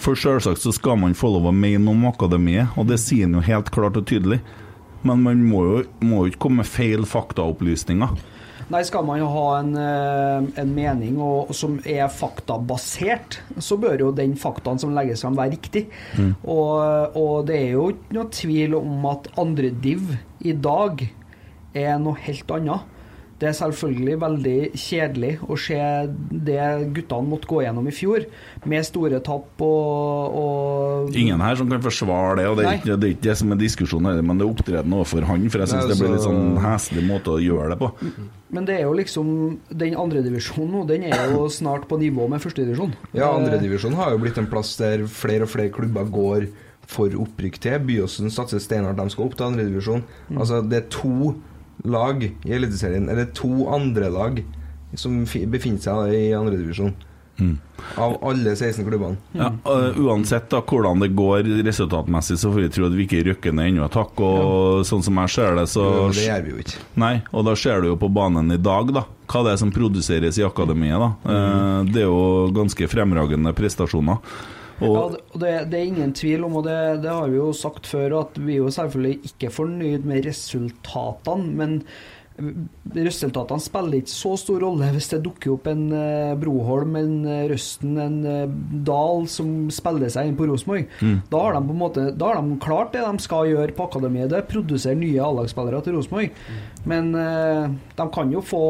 For selvsagt så skal man få lov å mene noe om akademiet, og det sier han jo helt klart og tydelig. Men man må jo, må jo ikke komme med feil faktaopplysninger.
Nei, skal man ha en, eh, en mening og, som er faktabasert, så bør jo den faktaen som legges frem, være riktig. Og, og det er jo ikke noe tvil om at andre div i dag er noe helt annet. Det er selvfølgelig veldig kjedelig å se det guttene måtte gå gjennom i fjor, med store tap og, og
Ingen her som kan forsvare det, og det er
Nei.
ikke det, er ikke det som er diskusjonen heller, men det er opptredenen overfor han, for jeg syns
Nei,
det
altså-
blir litt sånn heslig måte å gjøre det på.
Men det er jo liksom Den andredivisjonen nå, den er jo snart på nivå med førstedivisjon.
Ja,
eh,
andredivisjon har jo blitt en plass der flere og flere klubber går for opprykk til. Byåsen satser steinhardt, de skal opp til andredivisjon. Altså, det er to lag i Eliteserien, eller to andre lag, som fi- befinner seg i andredivisjon. Av alle 16 klubbene.
Ja, og uansett da hvordan det går resultatmessig, så får vi tro at vi ikke rykker ned ennå et hakk, og sånn som jeg ser det, så
Men det gjør vi jo ikke.
Nei, og da ser du jo på banen i dag, da. Hva det er som produseres i akademiet, da.
Mm.
Eh, Det er jo ganske fremragende prestasjoner.
Ja,
Og
og det, det er ingen tvil om, og det, det har vi jo sagt før, at vi er jo selvfølgelig ikke fornøyd med resultatene, men resultatene spiller ikke så stor rolle hvis det dukker opp en eh, Broholm, en eh, Røsten, en eh, Dahl som spiller seg inn på Rosenborg.
Mm.
Da har de på en måte da har de klart det de skal gjøre på akademiet, det er produsere nye A-lagsspillere til Rosenborg. Men eh, de kan jo få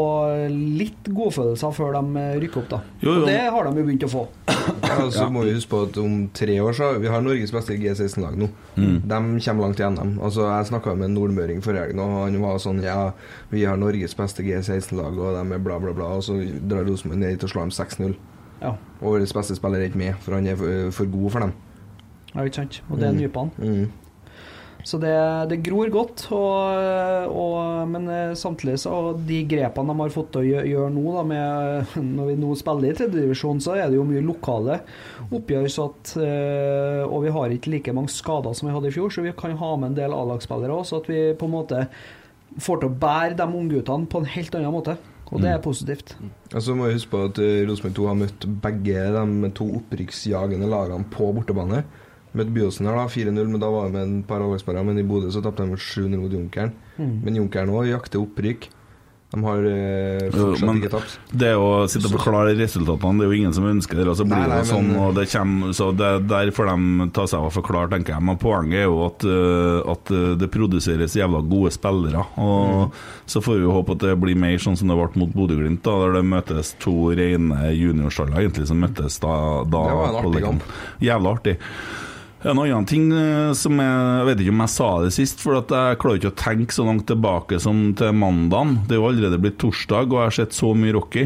litt godfølelser før de eh, rykker opp, da.
Jo, jo.
Og det har de jo begynt å få.
Ja, og så må vi huske på at om tre år så Vi har Norges beste G16-lag nå. De kommer langt i NM. Altså, jeg snakka med en nordmøring forrige helg, og han var sånn Ja, vi har Norges beste G16-lag, og de er bla, bla, bla. Og så drar Rosenborg ned dit og slår dem 6-0.
Ja.
Og vår beste spiller er ikke med, for han er for, for god for dem.
Ja, ikke sant? Og det er nypene.
Mm.
Så det, det gror godt, og, og, men eh, samtidig så og de grepene de har fått til å gjø- gjøre nå, da, med, [LAUGHS] når vi nå spiller i tredjedivisjon, så er det jo mye lokale oppgjør. Så at, eh, og vi har ikke like mange skader som vi hadde i fjor, så vi kan ha med en del A-lagsspillere òg. Så at vi på en måte får til å bære de ungguttene på en helt annen måte. Og det er positivt.
Og så må vi huske på at eh, Rosenborg 2 har møtt begge de to opprykksjagende lagene på bortebane. Møtte Byåsen her, da, 4-0, men da var det med en par avlagsparer. Men i Bodø så tapte de mot 7-0 mot Junkeren. Men Junkeren òg jakter opprykk. De har eh,
Jo,
fortsatt
men
ikke tapt.
det å sitte og forklare resultatene, det er jo ingen som ønsker det. Og så blir
Nei, nei,
det jo sånn,
men-
og det kommer, så det, der får de ta seg av å forklare, tenker jeg. Men poenget er jo at, eh, at eh, det produseres jævla gode spillere.
Mm.
Og så får vi jo håpe at det blir mer sånn som det ble mot Bodø-Glimt, da, der det møtes to rene juniorstaller, egentlig, som møttes da. da
Det var en
på
artig
Lekker'n.
kamp.
Jævla artig. En annen ting eh, som jeg, jeg vet ikke om jeg sa det sist, for at jeg klarer ikke å tenke så langt tilbake som til mandagen. Det er jo allerede blitt torsdag, og jeg har sett så mye Rocky.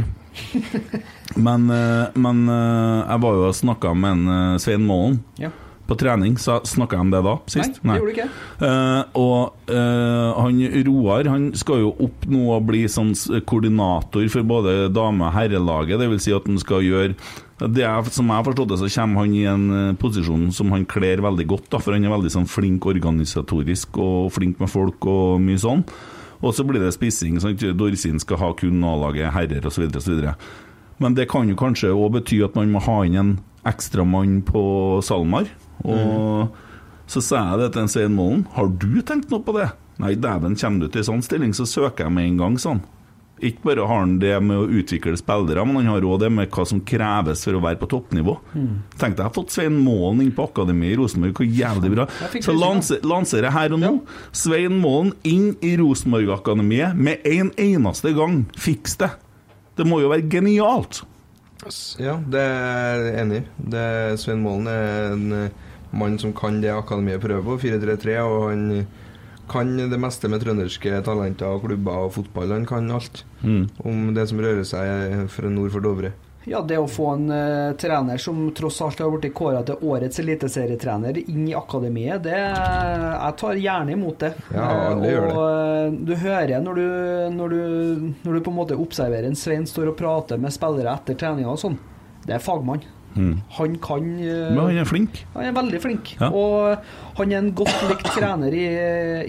Men, eh, men eh, jeg var jo og snakka med en eh, Svein Målen
Ja.
på trening. Snakka jeg om det da, sist?
Nei, det gjorde du ikke.
Eh, og eh, han Roar han skal jo opp nå og bli sånn s- koordinator for både dame- og herrelaget. Det vil si at han skal gjøre det er, Som jeg har forstått det, så kommer han i en eh, posisjon som han kler veldig godt. Da, for han er veldig sånn flink organisatorisk og flink med folk og mye sånn. Og så blir det spissing. Sant? Dorsin skal ha kun A-laget herrer osv. Men det kan jo kanskje òg bety at man må ha inn en ekstramann på SalMar. Og så sa jeg det til en Svein Målen. Har du tenkt noe på det? Nei, dæven, kommer du til sånn stilling, så søker jeg med en gang, sånn. Ikke bare har han det med å utvikle spillere, men han har òg det med hva som kreves for å være på toppnivå.
Mm.
Tenk deg, jeg har fått Svein Målen inn på akademiet i Rosenborg, hvor jævlig bra.
Jeg fikk
Så
lyst til
lanse, lanserer her og nå. Svein Målen inn i Rosenborg-akademiet med en eneste gang. Fiks det! Det må jo være genialt!
Ja, det er jeg enig. i. Det er- Svein Målen er en eh, mann som kan det akademiet prøver på, 4-3-3, og han eh, kan det meste med trønderske talenter og klubber og fotball. Han kan alt om det som rører seg eh, fra nord for Dovre.
Ja, det å få en eh, trener som tross alt har blitt kåra til årets eliteserietrener, inn i akademiet, det eh, Jeg tar gjerne imot det.
Ja, alle
Eh,
gjør
og eh, du hører når du, når, du, når du på en måte observerer en Svein står og prater med spillere etter treninga og sånn, det er fagmann.
Mm.
Han kan eh,
Men han er flink.
han er veldig flink,
Ja.
og eh, han er en godt likt [COUGHS] trener i,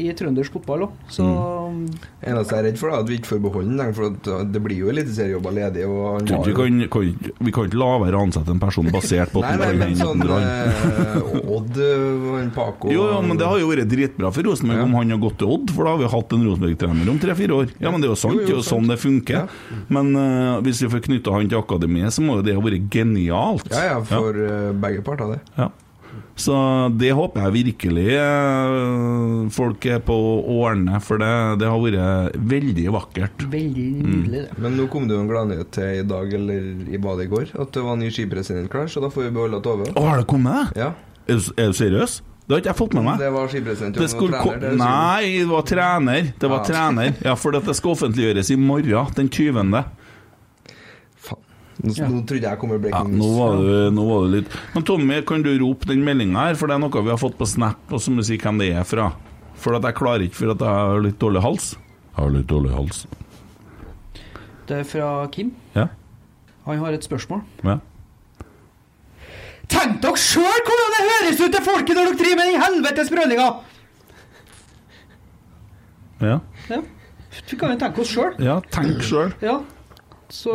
i trøndersk fotball òg, så
Mm. Eneste jeg er redd for, da, er at vi ikke får beholde den, der, for at eh, det blir jo eliteseriejobber ledig. Og han
Tror
har
ikke Vi
jo-
kan, kan, vi kan ikke la være å ansette en person basert på
Nei, nei, men sånn
han
eh, Odd eh, og en Paco
Jo, ja, men det har jo vært dritbra for Rosenborg om han har gått til Odd, for da har vi hatt en Rosenborg-trener om tre-fire år. Ja, men det er jo sant, det er jo sånn det funker. Men eh, hvis vi får knytta han til akademiet, så må jo det ha vært genialt.
Ja, ja, for eh, begge parter, det.
Ja. Så det håper jeg virkelig eh, folk er på å ordne, for det, det har vært veldig vakkert.
veldig nydelig, det.
Men nå kom det jo en gladnyhet til i dag, eller i badet i går, at det var ny skipresident klar, så da får vi beholde Tove.
Å, har det kommet?
Ja.
Er du, er du seriøs? Det har ikke jeg fått med meg.
Det var skipresident
Det skulle ko- Nei, det var trener. Det var
Ja.
trener. Ja, for det skal offentliggjøres i morgen, den 20.
Faen. Nå, nå trodde jeg kommer
Ja,
breaking
nå var du, nå var du litt Men Tommy, kan du rope den meldinga her, for det er noe vi har fått på Snap, og så må du si hvem det er fra. For at jeg klarer ikke, for at jeg har litt dårlig hals. Jeg har litt dårlig hals.
Det er fra Kim.
Ja.
Han har et spørsmål.
ja.
Tenk dere sjøl hvordan det høres ut til folket når dere driver med den helvetes brølinga!
Ja,
Ja. Vi kan jo tenke oss sjøl.
ja tenk sjøl.
Ja. Så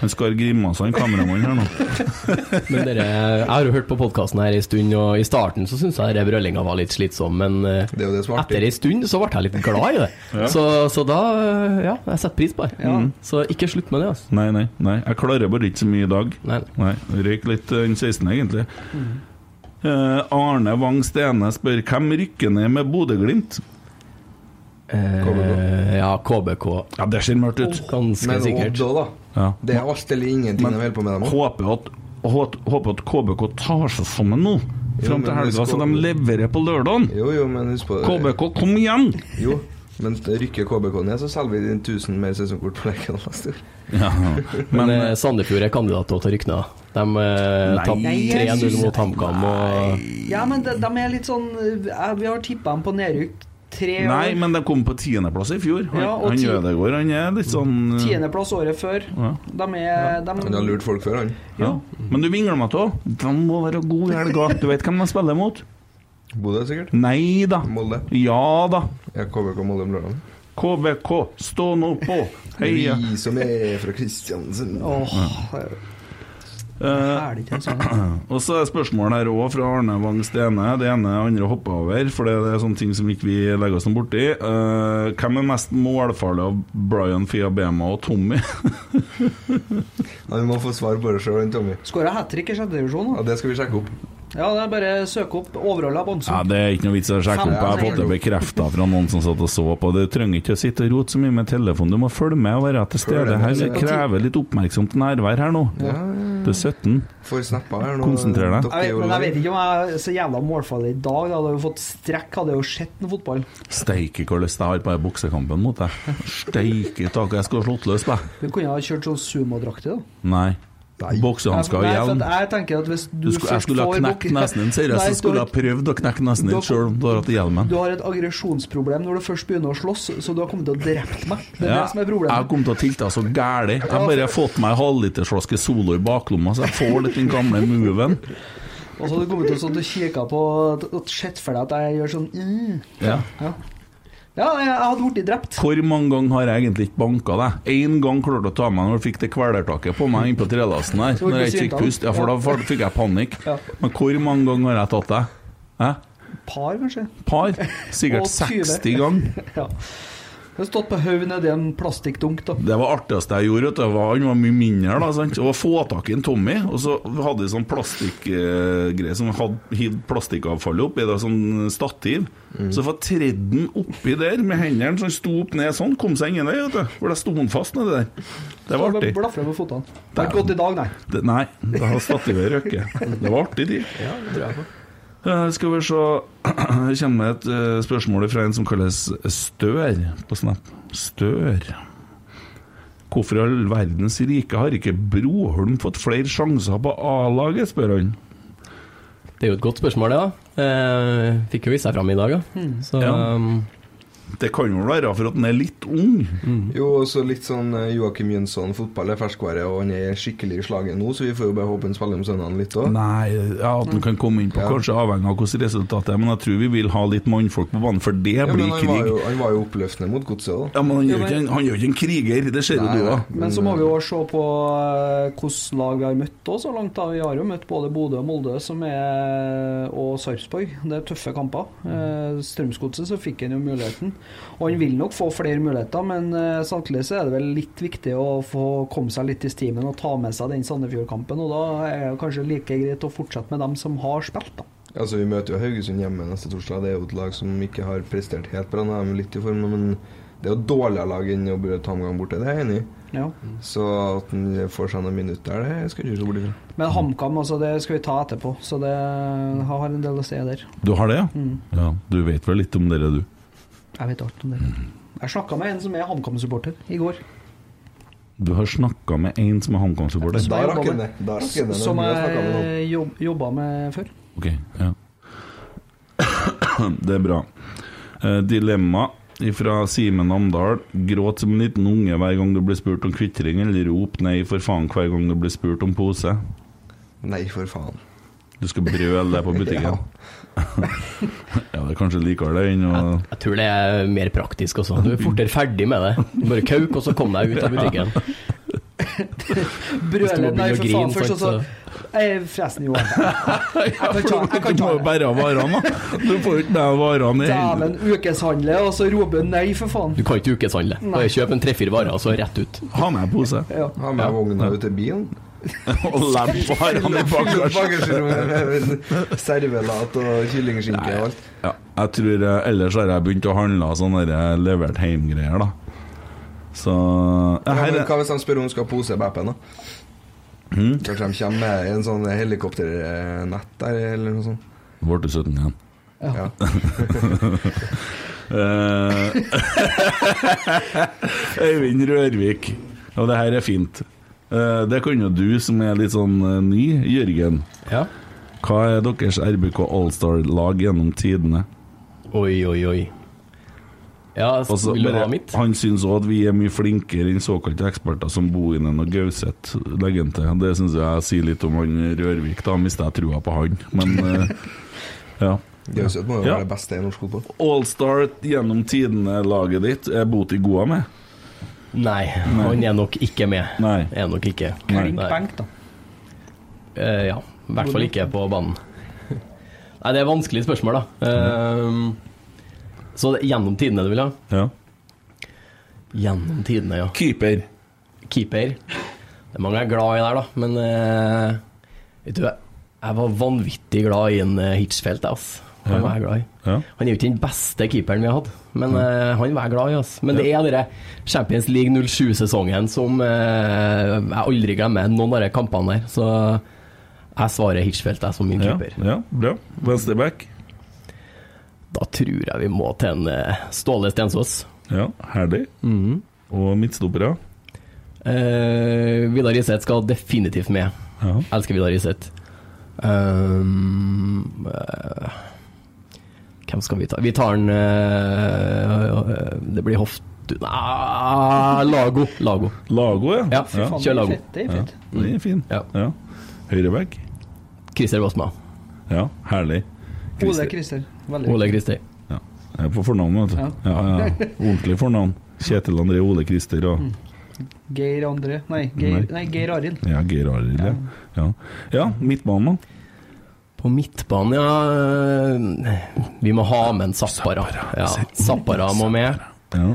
Han skal grimase, han kameramannen her nå.
Men dere, jeg har jo hørt på podkasten her en stund, og i starten så syns jeg denne brøllinga var litt slitsom, men eh,
Det er jo det som er artig.
etter en stund så ble jeg litt glad i det. Så, så da eh, Ja, jeg setter pris på det. Så ikke slutt med det, altså.
Nei, nei, nei. Jeg klarer bare ikke så mye i dag.
Nei.
Nei, Røyk litt eh, den 16., egentlig. Eh, Arne Wang Stene spør hvem rykker ned med Bodø-Glimt?
Eh, ja, KBK.
Ja, det ser mørkt ut.
Ganske
Men
sikkert.
Odd òg, da.
Ja.
Det er alt eller ingenting de holder på med, dem òg.
Håper at, hå- håper at KBK tar seg sammen nå, fram
men
til
vi
helga, så
skal-
de leverer på lørdagen.
Jo, jo, men husk på
KBK, kom igjen!
Jo, men rykker KBK ned, så selger vi 1000 mer sesongkort på Lerkendal neste år.
Ja,
Men
[LAUGHS] men
eh, Sandefjord er kandidat til å rykke ned. De eh, tapte
Nei, jeg
3-0
synes-
mot HamKam. og-
Ja, men de, de er litt sånn eh, Vi har tippa dem på nedrykk tre år.
Nei, men de kom på tiendeplass i fjor. Han,
Ja, og
han
ti-
Ødegaard, han er litt sånn eh,
Tiendeplass året før. De er de,
Han har lurt folk før, han.
ja. Men du vingler meg til De må være gode i helga. Du vet hvem de spiller mot?
Bodø, sikkert.
Nei da.
Molde.
Ja da.
Ja, KBK Molde om lørdagen.
KBK, stå nå på! Heia!
Vi som er fra Kristiansund.
Åh,
Eh,
Er det ikke en sånn?
og så er spørsmålet her òg fra Arne Wang Stene. Det ene og andre hopper over, for det er sånne ting som ikke vi legger oss noe borti. Eh, hvem er mest målfarlig av Brian Fiabema og Tommy?
Ja, vi må få svar på det sjøl, Tommy.
Skåra hat trick i sjette divisjon.
Ja,
da.
det skal vi sjekke opp.
Ja, det er bare å søke opp overholdet
[LAUGHS] Ja,
av Bonsen.
Det er ikke noe vits i å sjekke opp. Jeg har fått det bekrefta fra noen som satt og så på. Du trenger ikke å sitte og rote så mye med telefonen. Du må følge med og være til stede. her Det krever litt oppmerksomt nærvær her nå. Du er 17.
Får snappa her nå.
Konsentrer deg.
Dere er
Jeg vet,
jo
men jeg vet
live.
ikke om jeg er så jævla målfarlig i dag. Da hadde jeg jo fått strekk, hadde jeg jo sett en fotball.
Steike hvor lyst jeg har på den boksekampen mot deg. Steike taket, jeg skulle ha slått løs på deg.
Vi kunne ha kjørt sånn sumodraktig, da.
Nei.
Nei.
Boksehansker og
Nei, for
hjelm.
at Jeg tenker at hvis
Du
du,
skulle, jeg
først
skulle ha
får
knekt
bok-
nesen din, sier jeg.
Nei,
Så skulle jeg ha prøvd å knekke nesen din sjøl om du har hatt hjelmen.
Du har et aggresjonsproblem når du først begynner å slåss, så du har kommet til å drept meg. Det er
Ja,
det
jeg
som er
har
problemet.
kommet til å tilte så gæli. Jeg har bare fått meg en halvlitersflaske Solo i baklomma, så jeg får litt den gamle moven.
Og så har du kommet til å sånn, du kikker på og sett for deg at jeg gjør sånn mm.
Ja.
Ja, ja jeg, jeg hadde blitt drept.
Hvor mange ganger har jeg egentlig ikke banka deg? Én gang klarte du å ta meg når du fikk det kvelertaket på meg innpå trelasten her.
Så var det
Når jeg ikke fikk
svinta.
pust. Ja, for da fa- fikk jeg panikk.
Ja.
Men hvor mange ganger har jeg tatt deg? Hæ?
Par, kanskje. [LAUGHS]
Par? Sikkert
Og 20.
60 ganger.
Ja. Jeg har stått på haug nedi en plastikkdunk, da.
Det var artigste jeg gjorde, vet du, var, han var mye mindre da, sant? Og å få tak i en Tommy, og så hadde vi sånn plastikkgreie som hadde hivd plastikkavfallet opp i det, sånn stativ. Så jeg får tredd den oppi der med hendene, så han sto opp ned sånn, kom seg ingen vei, vet du. For da sto han fast nedi der. Det var artig.
Blafra med fotene. Det har
Dæven.
ikke gått i dag, nei.
Det, nei, da har stativet røkket. Det var artig, de.
Ja, det tror jeg på.
Eh, skal vi se [CLEARS THROAT] Her kommer et eh, spørsmål fra en som kalles Stør på Snap. Stør. Hvorfor i all verdens rike har ikke Broholm fått flere sjanser på A-laget, spør han.
Det er jo et godt spørsmål, det. da. Eh, fikk jo vist seg fram i dag, da. Så
Ja.
um,
Det kan jo være for at han er litt ung.
Jo, også litt sånn eh, Joakim Jønsson, fotball er ferskvare, og han er skikkelig i slaget nå, så vi får jo bare håpe han spiller om søndagen litt òg.
Nei, ja, at han kan komme inn på
Ja.
kanskje avhengig av hvordan resultatet er, men jeg tror vi vil ha litt mannfolk på banen, for det
Ja, men
blir
han var,
krig.
jo, han var jo oppløftende mot godset òg.
Ja, Men han gjør ikke en, han gjør ikke en kriger, det ser jo
Nei,
du
nei.
òg.
Men så må vi jo se på eh, hvilke lag vi har møtt også, så langt. da. Vi har jo møtt både Bodø og Molde som er, og Sarpsborg. Det er tøffe kamper. Eh, Strømsgodset så fikk han jo muligheten. Og han vil nok få flere muligheter, men eh, samtidig så er det vel litt viktig å få komme seg litt i stimen og ta med seg den Sandefjord-kampen. Og da er det kanskje like greit å fortsette med dem som har spilt, da.
Altså, vi møter jo Haugesund hjemme neste torsdag. Det er jo et lag som ikke har prestert helt bra. Nå er de litt i form, men det er jo et dårligere lag enn å burde ta omgang borte. Det er jeg enig i.
Ja.
Så at han får seg noen minutter der, det skal du ikke se bort ifra.
Men HamKam altså, det skal vi ta etterpå, så det har en del å si der.
Du har det, ja?
Mm.
ja? Du vet vel litt om dere, du?
Jeg vet alt om det. Jeg snakka med en som er HamKam-supporter i går.
Du har snakka med en som er HamKam-supporter?
Da
jeg
rakk
jobba
han det.
med-
Da rakk han det.
Som
Nå har jeg snakket med noen.
jeg jobb, jobba med før.
Ok, ja. [COUGHS] Det er bra. Eh, dilemma fra Simen Amdal. Gråt som en liten unge hver gang du blir spurt om kvitring, eller rop nei for faen hver gang du blir spurt om pose.
Nei, for faen.
Du skal brøle det på
[LAUGHS]
butikken. [LAUGHS] ja, det er kanskje likere det enn å
jeg tror det er mer praktisk også. Du er fortere ferdig med det. Bare kauk, og så kom deg ut av
[LAUGHS]
butikken.
Brøler
Storbyen
nei,
og
for
grin,
faen, først og
sant,
så
så-
Jeg er forresten jo
[LAUGHS] Ja, for
kan ta- jeg
[LAUGHS] du,
kan
du
ta
må jo
det.
bære av varene, da. Du får jo ikke med varene i hele
Dæven, ukeshandler, og så roper hun nei, for faen.
Du kan ikke ukeshandle. Bare kjøp en tre-fire varer, og så rett ut.
Ha med pose.
Ja.
Ha med vogna ut til bilen.
[LAUGHS]
[LAUGHS]
Og lemp varene i bagasjen.
Bagasjerommet med servelat og kyllingskinke og alt.
Ja, jeg tror eh, Ellers har jeg begynt å handle sånne der eh, levert hjem-greier, da. Så ja,
Ja,
her
men
er,
hva hvis de spør om hun skal ha pose i BP-en, da?
Hmm?
Kanskje de kommer med en sånn helikopternett der, eller noe sånt.
Ble du 17 igjen?
Ja.
Eh, [LAUGHS] Øyvind Rørvik. Og det her er fint. Eh, det kan jo du, som er litt sånn eh, ny, Jørgen.
Ja.
Hva er deres RBK Allstar-lag gjennom tidene?
Oi, oi, oi. Ja, så
Altså,
vil du
bare-
ha mitt?
Han syns òg at vi er mye flinkere enn såkalte eksperter som Bohinen og Gauseth legger han til. Det syns jeg sier litt om han Rørvik, da mister jeg trua på han. Men
[LAUGHS]
eh, ja.
Gauseth må jo
Ja.
være det er beste i norsk fotball.
Allstar gjennom tidene-laget ditt er Boti Goa med?
Nei, han er nok ikke med.
Nei.
Er nok ikke.
Nei.
Klink benk, da.
Eh, ja. I hvert fall ikke på banen. Nei, det er vanskelige spørsmål, da. Eh, så det, gjennom tidene du vil ha?
Ja.
Gjennom tidene, ja.
Keeper.
Keeper. Det er mange jeg er glad i der, da, men eh, vet du, jeg- jeg var vanvittig glad i en eh, Hitchfeldt, jeg, ass. Han var jeg glad i.
Ja.
Han er jo ikke den beste keeperen vi har hatt, men eh, han var jeg glad i. Ass. Men det er denne Champions League 07-sesongen som eh, jeg aldri glemmer noen av de kampene der. Så jeg svarer Hitchfeldt jeg, som min
Ja,
keeper.
ja, bra. Venstreback.
Da tror jeg vi må til en eh, Ståle Stensås.
Ja, herlig.
Mhm.
Og midtstoppere.
Eh, Vidar Iseth skal definitivt med.
Ja.
Elsker Vidar Iseth. Ehm, eh, hvem skal vi ta? Vi tar en eh, Det blir Hoft... Nei, Lago. Lago.
Lago, ja.
Ja,
ja.
Faen,
kjør
det er
Lago.
fett, Det er fett.
Den er fin.
Ja.
Ja. Høyreback.
Christer Bosma.
Ja, herlig.
Ole Christer. Veldig.
Ole Christer.
Ja. Jeg er på fornavn, vet du.
Ja.
Ja. Ja, Ordentlig fornavn. Kjetil André Ole Christer og
Geir André Nei, Geir,
Nei.
nei. Geir Arild.
ja, Geir Arild. Ja. Ja. ja, midtbanen. da.
På midtbanen, ja eh, Vi må ha med en Zappara. Ja, Zappara må med.
Ja.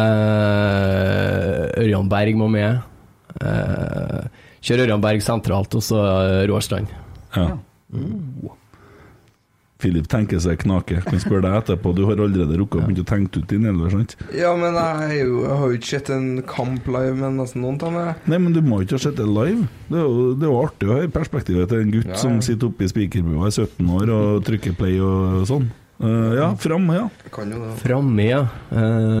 Eh, Ørjan Berg må med. Eh, kjør Ørjan Berg sentralt, og så eh, Råstrand.
ja. Filip tenker seg knake. Kan spørre deg etterpå. Du har allerede rukket å begynne å tenke ut din elver, sant?
Ja, men jeg, er jo, jeg har jo ikke sett en kamp live med nesten noen av dem. er- jeg.
Nei, men du må jo ikke ha sett det live. Det er jo, det er jo artig å høre perspektivet til en gutt
Ja, ja.
som sitter oppe i spikerbua i 17 år og trykker play og sånn. Eh, ja, fram, ja.
Jeg kan jo det.
Framme, ja. Eh,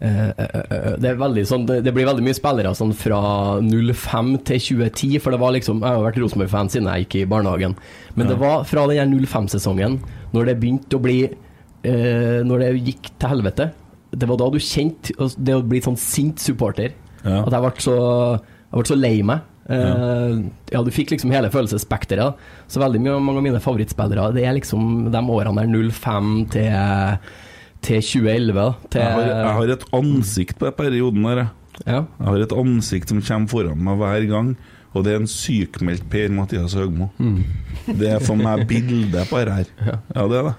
eh, det, er veldig sånn, det, det blir veldig mye spillere sånn fra 05 til 2010, for det var liksom Jeg har vært Rosenborg-fan siden jeg gikk i barnehagen. Men det var fra den her 05-sesongen, når det begynte å bli eh, Når det gikk til helvete. Det var da du kjente altså, det å bli sånn sint supporter.
Ja.
At jeg ble så, jeg ble så lei meg. Eh, ja, du fikk liksom hele følelsesspekteret. da. Så veldig mye, mange av mine favorittspillere Det er liksom de årene der 05 til, til 2011. da. Til,
Jeg har, jeg har et ansikt på den perioden her. jeg.
ja.
Jeg har et ansikt som kommer foran meg hver gang, og det er en sykmeldt Per Mathias Høgmo.
Mm.
Det er for meg bildet på det her. Ja, det er det.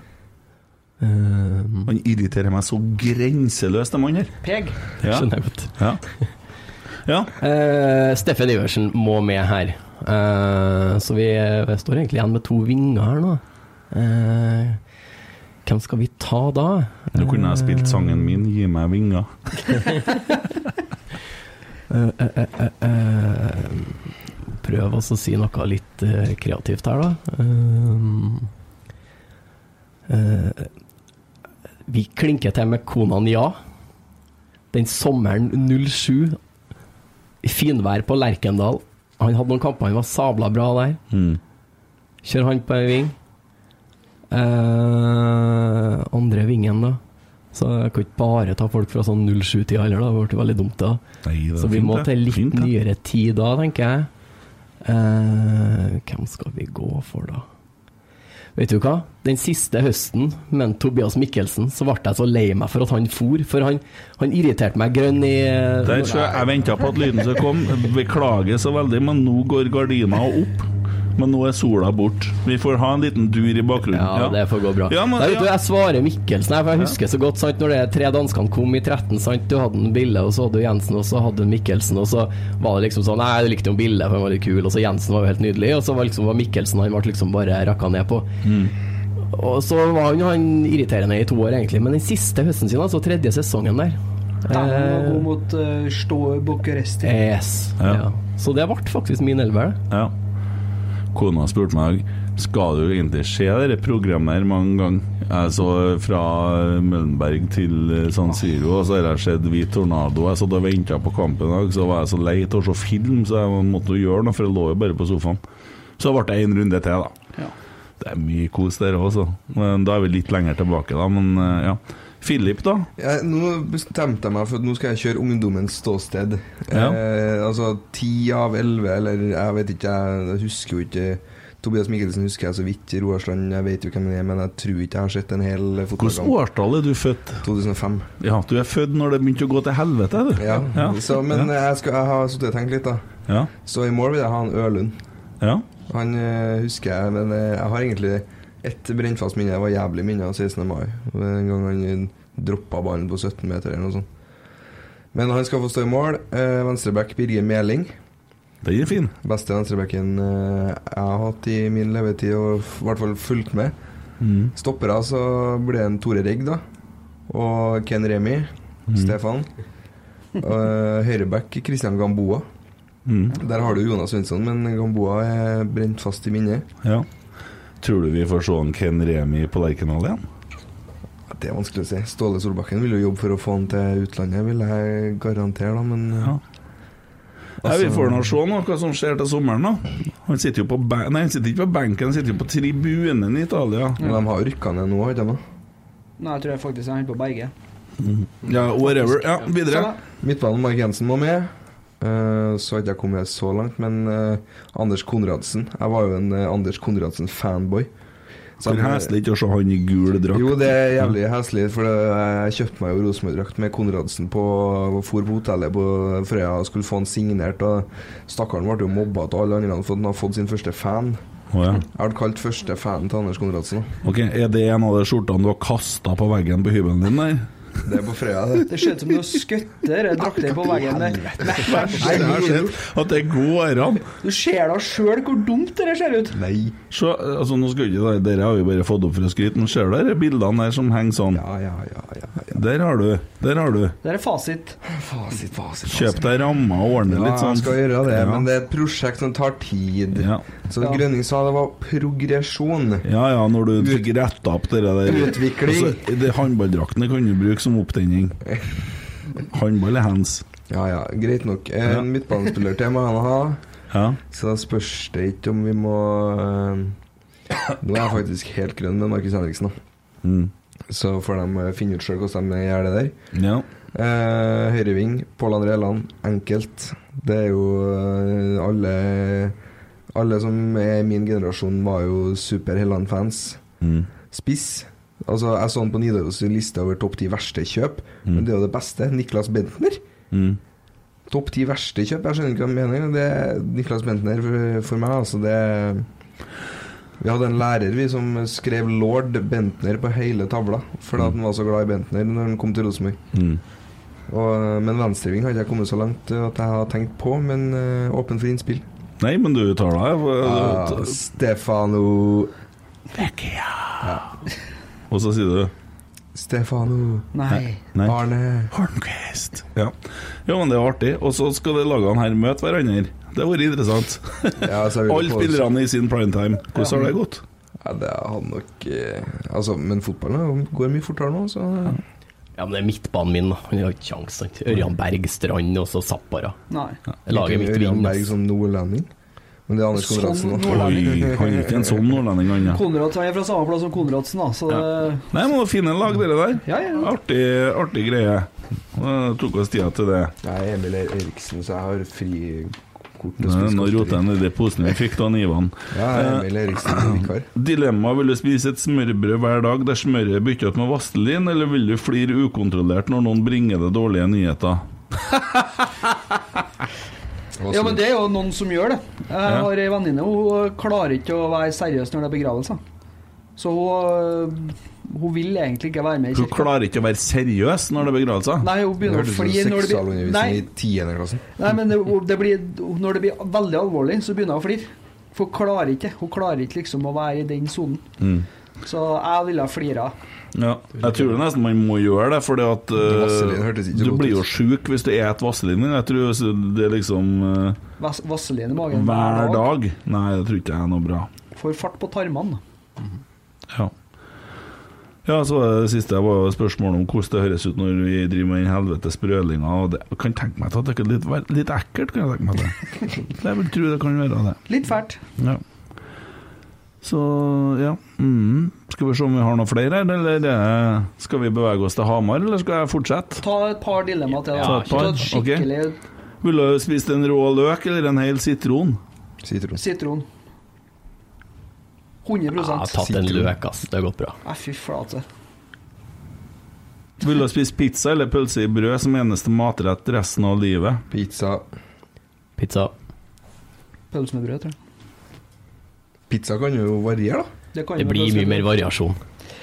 Ehm,
Han irriterer meg så grenseløst, den mannen her.
Peg.
Ja.
Skjønner jeg godt.
Ja. ja.
Eh, Steffen Iversen må med her. Eh, så vi eh, står egentlig igjen med to vinger her nå. Eh, Hvem skal vi ta da?
Du kunne ha spilt sangen min 'Gi meg vinger'.
Eh, eh, eh, eh, eh, prøv også å si noe litt eh, kreativt her, da. Um, eh, vi klinker til med Konan Ja. Den sommeren 07, i finvær på Lerkendal. Han hadde noen kamper, han var sabla bra der.
Mm.
Kjør han på ei ving. Eh, andre vingen, da. Så jeg kan ikke bare ta folk fra sånn 07-tida heller, da. Det ble veldig dumt, da.
Nei, det er
Så vi
fint,
må
det.
til litt
Fint, det.
nyere tid da, tenker jeg. Eh, hvem skal vi gå for, da? Vet du hva? Den siste høsten med Tobias Mikkelsen, så ble jeg så lei meg for at han for, for han, han irriterte meg grønn i
Der, så jeg venta på at lyden skulle komme. Beklager så veldig, men nå går gardina opp. Men nå er sola bort. Vi får ha en liten dur i bakgrunnen.
Ja, det får gå bra.
Ja, men,
Nei, vet du,
ja.
jeg svarer Mikkelsen, her, for jeg husker så godt sant, Når de tre danskene kom i 13 sant, Du hadde en Bille, og så hadde du Jensen, og så hadde du Mikkelsen Og så var det liksom sånn Nei, du likte jo Bille, for han var litt kul Og så Jensen var jo helt nydelig Og så var, liksom, var Mikkelsen, han ble liksom bare rakka ned på Og så var han, han irriterende i to år egentlig Men den siste høsten sin, altså tredje sesongen der
var
eh,
god mot uh, Stå Bucuresti.
Yes ja. Så det ble faktisk min elver
Ja. Kona spurte meg Skal du egentlig se dette programmet her mange ganger. Jeg så fra Møllenberg til eh, San Siro, og så har jeg sett Hvit tornado. Jeg satt og venta på kampen i dag, så var jeg så lei av å se film, så jeg måtte jo gjøre noe, for jeg lå jo bare på sofaen. Så ble det en runde til, da. Det er mye kos der også. Men da er vi litt lenger tilbake, da. Men eh, ja. Philip, da?
Jeg, nå bestemte jeg meg for at nå skal jeg kjøre ungdommens ståsted.
Ja.
Eh, altså ti av elleve, eller jeg vet ikke, jeg, jeg husker jo ikke Tobias Mikkelsen husker jeg så vidt. Roar Strand, jeg vet jo hvem han er, men jeg tror ikke jeg har sett en hel
Hvilket
fotballkamp.
årtall er du født?
2005.
Ja, du er født når det begynte å gå til helvete, du.
Ja.
Ja.
Så, men
ja.
jeg, skal, jeg har sittet og tenkt litt, da.
Ja.
Så i mål vil jeg ha en Ørlund.
Ja.
Han eh, husker jeg, men eh, jeg har egentlig ett brennfast minne. Det var jævlig minne av 16. mai. Det var En gang han droppa ballen på 17 meter eller noe sånt. Men han skal få stå i mål. Eh, Venstreback Birger Meling.
Den er fin.
Beste venstrebacken eh, jeg har hatt i min levetid, og f- i hvert fall fulgt med.
Mm.
Stoppere så blir det en Tore Rigg, da. Og Ken Remi. Stefan. Eh, Høyreback Christian Gamboa.
Mm.
Der har du Jonas Svensson, men Gamboa er brent fast i minnet.
Ja. Tror du vi får se en Ken Remi på Lerkendal igjen?
Det er vanskelig å si. Ståle Solbakken vil jo jobbe for å få han til utlandet, vil jeg garantere, da, men eh,
Nei,
Altså-
Vi får nå se nå hva som skjer til sommeren. da Han sitter jo på ben Nei, han sitter ikke på benken, han sitter jo på tribunen i Italia.
Men de har rykka ned nå, har de ikke det?
Nei, jeg tror jeg faktisk han holder på å berge.
Ja, whatever. Ja,
Sånn,
videre.
Midtbanen Mark Jensen må med. Eh, så har ikke jeg kommet så langt, men eh, Anders Konradsen Jeg var jo en eh, Anders Konradsen-fanboy. Så
Hvor
jeg-
heslig ikke å se han i gul drakt.
eh, Jo, det er jævlig heslig, for det- jeg kjøpte meg jo Rosenborg-drakt med Konradsen på og for på hotellet på Frøya og skulle få han signert, og stakkaren ble jo mobba av alle andre for at han har fått sin første fan.
Å, ja.
Jeg ble kalt første fan til Anders Konradsen. da.
Ok, Er det en av de skjortene du har kasta på veggen på hybelen din, der?
Det er på Frøya, det.
Det ser ut som du har skutt der, drakter på veggen der.
Nei, jeg har sett at det går an.
Du ser da sjøl hvor dumt det der ser ut.
Nei.
Se, altså nå skal ikke det- Dere har jo bare fått opp for å skryte, men ser du de bildene der som henger sånn?
Ja, ja, ja. ja, ja.
Der har du. Der har du.
Det der er fasit.
Fasit, fasit.
Kjøp deg rammer og ordne
Ja,
litt sånn.
jeg skal gjøre det,
Ja.
men det er et prosjekt som tar tid.
Ja.
Så Grønning sa det var progresjon.
Ja, ja, når du fikk retta opp det der
Utvikling.
Altså, det Håndballdraktene kan du bruke som opptenning. Håndball er hands.
Ja, ja, greit nok. En
Ja.
midtbanespiller til må han ha,
Ja.
så da spørs det ikke om vi må eh, Nå er jeg faktisk helt grønn med Markus Henriksen, da.
Mm.
Så får de eh, finne ut sjøl hvordan de gjør det der.
ja.
Eh, Høyreving, Pål André Land, enkelt. Det er jo eh, alle Alle som er min generasjon, var jo super Helland-fans.
Mm.
Spiss. Altså, Jeg så han på Nidaros' liste over topp ti verste kjøp, men det er jo det beste. Niklas Bentner.
Mm.
Topp ti verste kjøp. Jeg skjønner ikke hva han mener. Det er Niklas Bentner for, for meg, altså det Vi hadde en lærer vi som skrev 'Lord Bentner' på hele tavla fordi at han var så glad i Bentner når han kom til Rosenborg.
Mm.
Og- eh, Men venstreving har ikke jeg kommet så langt eh, at jeg har tenkt på, men eh, åpen for innspill.
Nei, men du tar deg eh,
Ah, Stefano
Vecchia. Og så sier du
Stefano.
Nei. Nei.
Arne.
Hornquist. Ja. ja, men det er artig. Og så skal de lagene her møte hverandre. Det har vært interessant.
altså,
Alle spillerne i sin primetime. Hvordan har det gått?
Ja, det hadde nok eh, Altså, Men fotballen går mye fortere nå, så
Ja, men det er midtbanen min, da. Han har ikke kjangs. sant? Ørjan Berg, Strand og så Zappara.
Nei.
Laget mitt
Ørjan
vinner.
Berg som nordlending. Men det er Anders
Som
Konradsen. da.
nordlending. Oi, han er ikke en sånn
nordlending, han,
Konrad er fra samme plass som Konradsen, da, så det-
Nei, men fine lag, dere der. Artig, artig greie. Det tok oss tida til det.
Jeg er Emil Eriksen, så jeg har frikort. til å
Nei,
spise
Nå roter jeg
godteri.
nedi posen vi fikk av Ivan. Eh,
Ja, jeg er Emil Eriksen som vikar.
Dilemma vil du spise et smørbrød hver dag der smøret er byttet ut med vaselin, eller vil du flire ukontrollert når noen bringer deg dårlige nyheter?
Ja, men det er jo noen som gjør det. Jeg
Ja.
har ei venninne, hun klarer ikke å være seriøs når det er begravelser. Så hun, eh, hun vil egentlig ikke være med i
Hun
kirka.
klarer ikke å være seriøs når det er begravelser?
Nei, hun begynner å
Hørtes ut som
flire når det blir Nei,
seksualundervisning i 10. klassen.
nei men det, det blir, når det blir veldig alvorlig, så begynner hun å flire. For hun klarer ikke Hun klarer ikke liksom å være i den sonen.
Mm.
Så jeg ville ha flira.
Ja. Jeg tror nesten man må gjøre det, for
Vaselin hørtes ikke
du
godt
blir
ut.
jo sjuk hvis du et vaselin. Jeg tror det er liksom eh,
Vas- Vaselin i magen
hver dag. Nei, det tror ikke jeg er noe bra.
Får fart på tarmene.
Ja. Ja, så var det siste var jo spørsmålet om hvordan det høres ut når vi driver med den helvetes brølinga. Og det jeg kan tenke meg til at det er litt, litt ekkelt, kan jeg tenke meg til. Jeg vil tro det kan være det.
Litt fælt.
Ja. Så ja. Mm. Skal vi se om vi har noen flere her, eller eh, skal vi bevege oss til Hamar, eller skal jeg fortsette?
Ta et par dilemmaer til. da.
Ta et par,
Ta et skikkelig
Ville du spist en rå løk eller en hel sitron?
Sitron.
sitron. 100
Jeg har tatt en løk, ass. Det har gått bra.
Nei, fy flate.
Ville du spist pizza eller pølse i brød som eneste matrett resten av livet?
Pizza.
Pizza.
Pølse med brød, tror jeg.
Pizza kan jo variere, da.
Det, kan
Det
jo
blir
pølse
mye
med
mer
brød.
variasjon.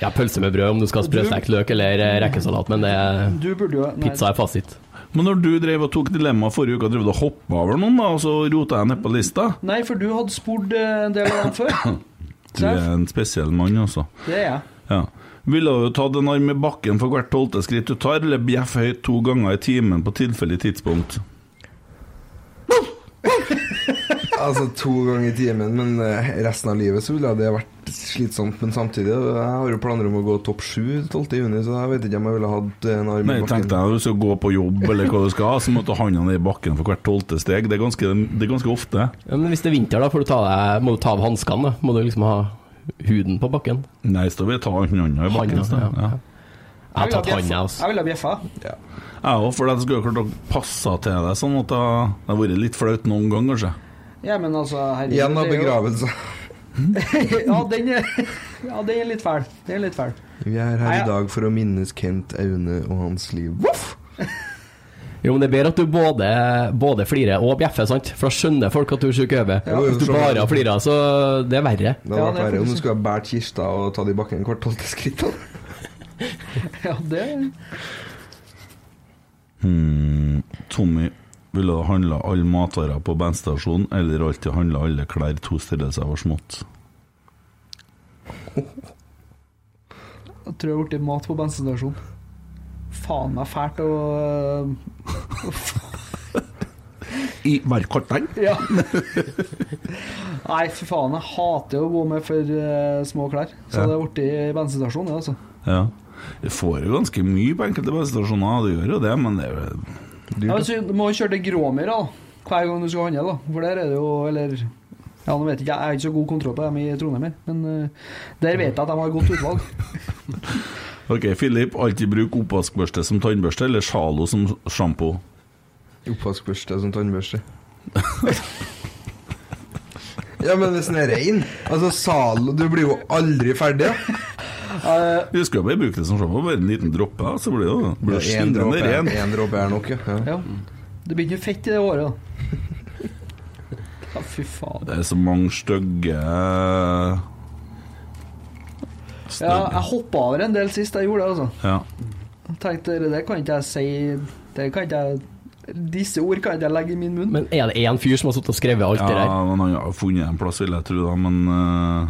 Ja, pølse med brød om du skal ha sprøstekt løk eller eh, rekesalat, men det er
Du burde jo nei,
Pizza er fasit.
Men når du drev og tok dilemmaet forrige uke, drev du og hoppa over noen, da, og så rota jeg ned på lista?
nei, for du hadde spurt eh, en del av dem før.
[COUGHS]
Du er en spesiell mann, altså.
Det er jeg.
Ja. Ville du tatt en arm i bakken for hvert tolvte skritt du tar, eller bjeff høyt to ganger i timen på tilfeldig tidspunkt?
Altså to ganger i timen, men eh, resten av livet så ville det vært slitsomt. Men samtidig, eh, jeg har jo planer om å gå topp sju 12. juni, så jeg vet ikke om jeg ville hatt eh, en arm
Nei,
i
tenk
bakken.
deg når du skal gå på jobb eller hva du skal ha, så må du ta handa ned i bakken for hvert tolvte steg. Det er ganske, det er ganske ofte.
Ja, men hvis det er vinter, da, får du ta deg, må du ta av hanskene. da. Må du liksom ha huden på bakken.
Nei, så vil jeg ta handa i bakken.
Handa,
så-
ja.
ja.
Jeg har tatt altså. handa,
bjeffa.
ass.
Jeg ville ha bjeffa.
Jeg òg, for jeg skulle jo klart å passe til deg sånn at det det har vært litt flaut noen gang, kanskje.
Ja, men altså herregud,
Igjen av
det er jo-
begravelse.
[LAUGHS] ja, den er, [LAUGHS] ja, den er litt fæl. Den er litt fæl.
Vi er
Nei,
her i
ja.
dag for å minnes Kent Aune og hans liv. Voff!
Jo, men det er bedre at du både, både flirer og bjeffer, sant? For da skjønner folk at du er sjuk i hodet.
Ja.
Hvis du bare har flira, så det er verre.
Det hadde
Ja,
vært
det er
verre om du
faktisk-
skulle ha båret kista og tatt i bakken hvert tolvte skritt. da.
Ja, det
Hmm, Tommy, ville du handla alle matvarer på bensinstasjonen, eller alltid handla alle klær to størrelser var smått?
Jeg tror jeg har blitt mat på bensinstasjon. Faen meg fælt å
I hver kortland?
Ja. Nei, for faen, jeg hater å gå med for eh, små klær. Så
Ja.
det er blitt bensinstasjon, det, altså.
Ja. Du får jo ganske mye på enkelte bensinstasjoner, du gjør jo det, men det er jo
Ja, men så du må jo kjøre til Gråmyra da, hver gang du skal handle, da. For der er det jo Eller ja, nå vet jeg ikke, jeg har ikke så god kontroll på dem i Trondheim, her, men eh, der vet jeg at de har godt utvalg.
Ok, Philip, alltid bruk oppvaskbørste som tannbørste, eller sjalo som sjampo?
Oppvaskbørste som tannbørste. ja, men hvis den er rein Altså, Zalo Du blir jo aldri ferdig. da.
Du skal jo bare bruke det som sjampo, bare en liten droppe, da, så blir det jo blir det
Ja, en
skinnende
dråpe er-
ren.
en dråpe er nok, ja. ja.
Ja. Det blir ikke noe fett i det håret, da. Ja, fy faen.
Det er så mange stygge
Ja, jeg hoppa over en del sist jeg gjorde det, altså.
Ja.
Jeg Tenkte det kan ikke jeg si Det kan ikke jeg Disse ord kan ikke jeg legge i min munn.
Men er det én fyr som har sittet og skrevet alt det
ja,
der?
men han har funnet en plass, vil jeg tro, da, men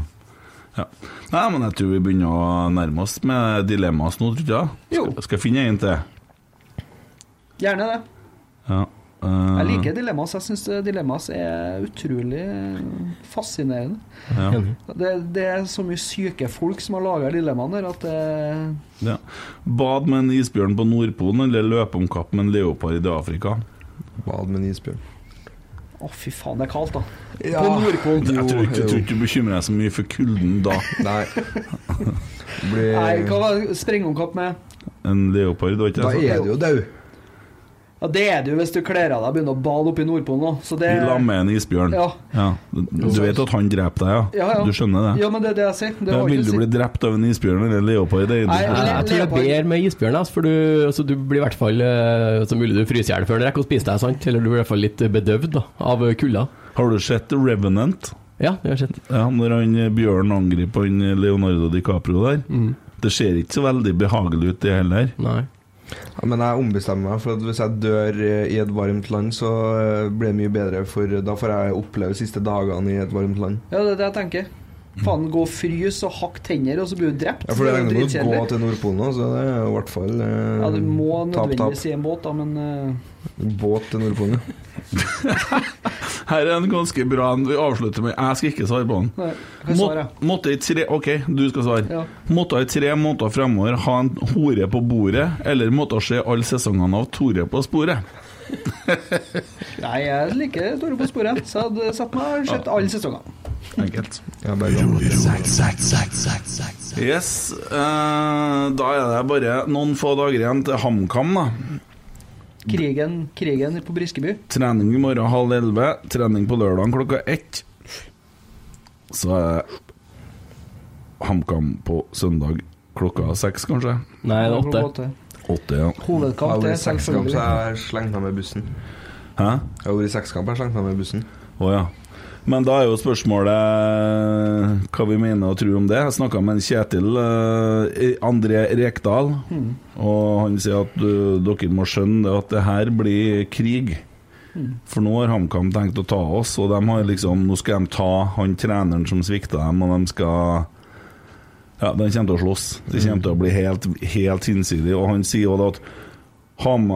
eh, Nei, men jeg tror vi begynner å nærme oss med dilemmas nå, tror du ikke? det? Skal, skal jeg finne en til?
Gjerne det.
Ja. eh,
Jeg liker dilemmas. Jeg syns dilemmas er utrolig fascinerende.
Ja.
Det, det er så mye syke folk som har laga dilemmaene der, at eh, det
Ja. Bad med en isbjørn på Nordpolen eller løpe om kapp med en leopard i Afrika?
Bad med en isbjørn.
Å, fy faen, det er kaldt, da.
Ja.
På Nordpolen.
Jeg tror
Jo,
ikke, jeg
jo.
tror ikke du bekymrer deg så mye for kulden da.
Nei. Eh.
Nei, hva var det? Springeomkapp med
En leopard, var ikke
Da er du jo død.
Ja, det er det jo hvis du kler av deg og begynner å bade oppe i Nordpolen nå. Så det
I lag med en isbjørn.
Ja.
Du du vet at han dreper deg, ja?
Ja, ja.
Du skjønner det?
Ja, men det er det jeg sier. Det
Ja,
har
vil
ikke
du
å
bli
si.
drept av en isbjørn eller en leopard? Det er
Nei,
Jeg, jeg tror det er bedre med isbjørn, altså, for du, altså, du blir i hvert fall eh, så mulig du fryser i hjel før den rekker å spise deg, sant? Eller du blir i hvert fall litt bedøvd da, av kulda.
Har du sett The Revenant?
Ja, det har jeg sett.
Ja, når han eh, Bjørn angriper han eh, Leonardo DiCaprio der. Det ser ikke så veldig behagelig ut, det heller.
Nei.
Ja, Men jeg ombestemmer meg, for at hvis jeg dør eh, i et varmt land, så eh, blir det mye bedre, for da får jeg oppleve de siste dagene i et varmt land.
Ja, det er det jeg tenker. Faen, gå og frys og hakk tenner, og så blir du drept.
Ja, for det
er jo
regner med å
dritkjedelig.
gå til Nordpolen nå, så det er jo i hvert fall eh,
Ja, du må
tap, tap.
nødvendigvis i en båt, da, men eh,
Båt til Nordpolen, ja.
Her er en ganske bra en vi avslutter med. Jeg skal ikke svare på den.
Nei, hva
Må,
svarer jeg?
måtte i tre Ok, du skal svare.
Ja.
Måtte i tre måneder fremover ha en hore på bordet, eller måtte se alle sesongene av Tore på sporet?
Nei, jeg liker Tore på sporet, så jeg hadde satt meg og sett alle sesongene.
Enkelt.
Jeg bare gammel.
Yes, eh, da er det bare noen få dager igjen til HamKam, da.
Krigen, krigen på Briskeby.
Trening i morgen halv elleve, trening på lørdag klokka ett. Så er HamKam på søndag klokka seks, kanskje?
Nei, det er åtte.
Åtte, ja.
Jeg har
Hovedkamp,
vært i
det er
sekskamp, så
selvfølgelig.
jeg har slengt meg med bussen.
Hæ?
Jeg har vært i sekskamp, jeg har slengt meg med bussen.
Å ja. Men da er jo spørsmålet hva vi mener og tror om det. Jeg snakka med en Kjetil eh, André Rekdal, og han sier at eh, dere må skjønne det at det her blir krig. For nå har HamKam tenkt å ta oss, og de har liksom, nå skal de ta han treneren som svikta dem, og de skal Ja, de kommer til å slåss. Det kommer til å bli helt, helt hinsidig. Og han sier jo da at Ham,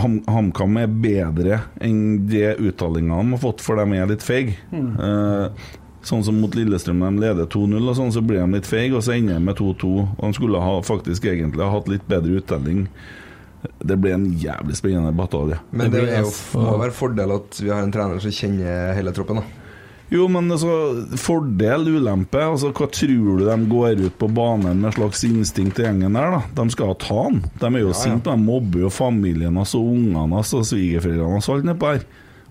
ham, HamKam er bedre enn de uttalingene de har fått, for de er litt feige. Eh, sånn som mot Lillestrøm, de leder 2-0, og sånn så blir de litt feige, og så ender de med 2-2. Og de skulle ha, faktisk egentlig ha hatt litt bedre uttelling. Det ble en jævlig spennende batalje.
Men det,
blir
er jo,
altså-
må være fordel at vi har en trener som kjenner hele troppen, da.
Jo, men altså, fordel, ulempe altså, Hva tror du de går ut på banen med slags instinkt til gjengen der? da? De skal ta han. De er jo sinte, de mobber jo familien hans og ungene hans og svigerforeldrene hans og alt nedpå her.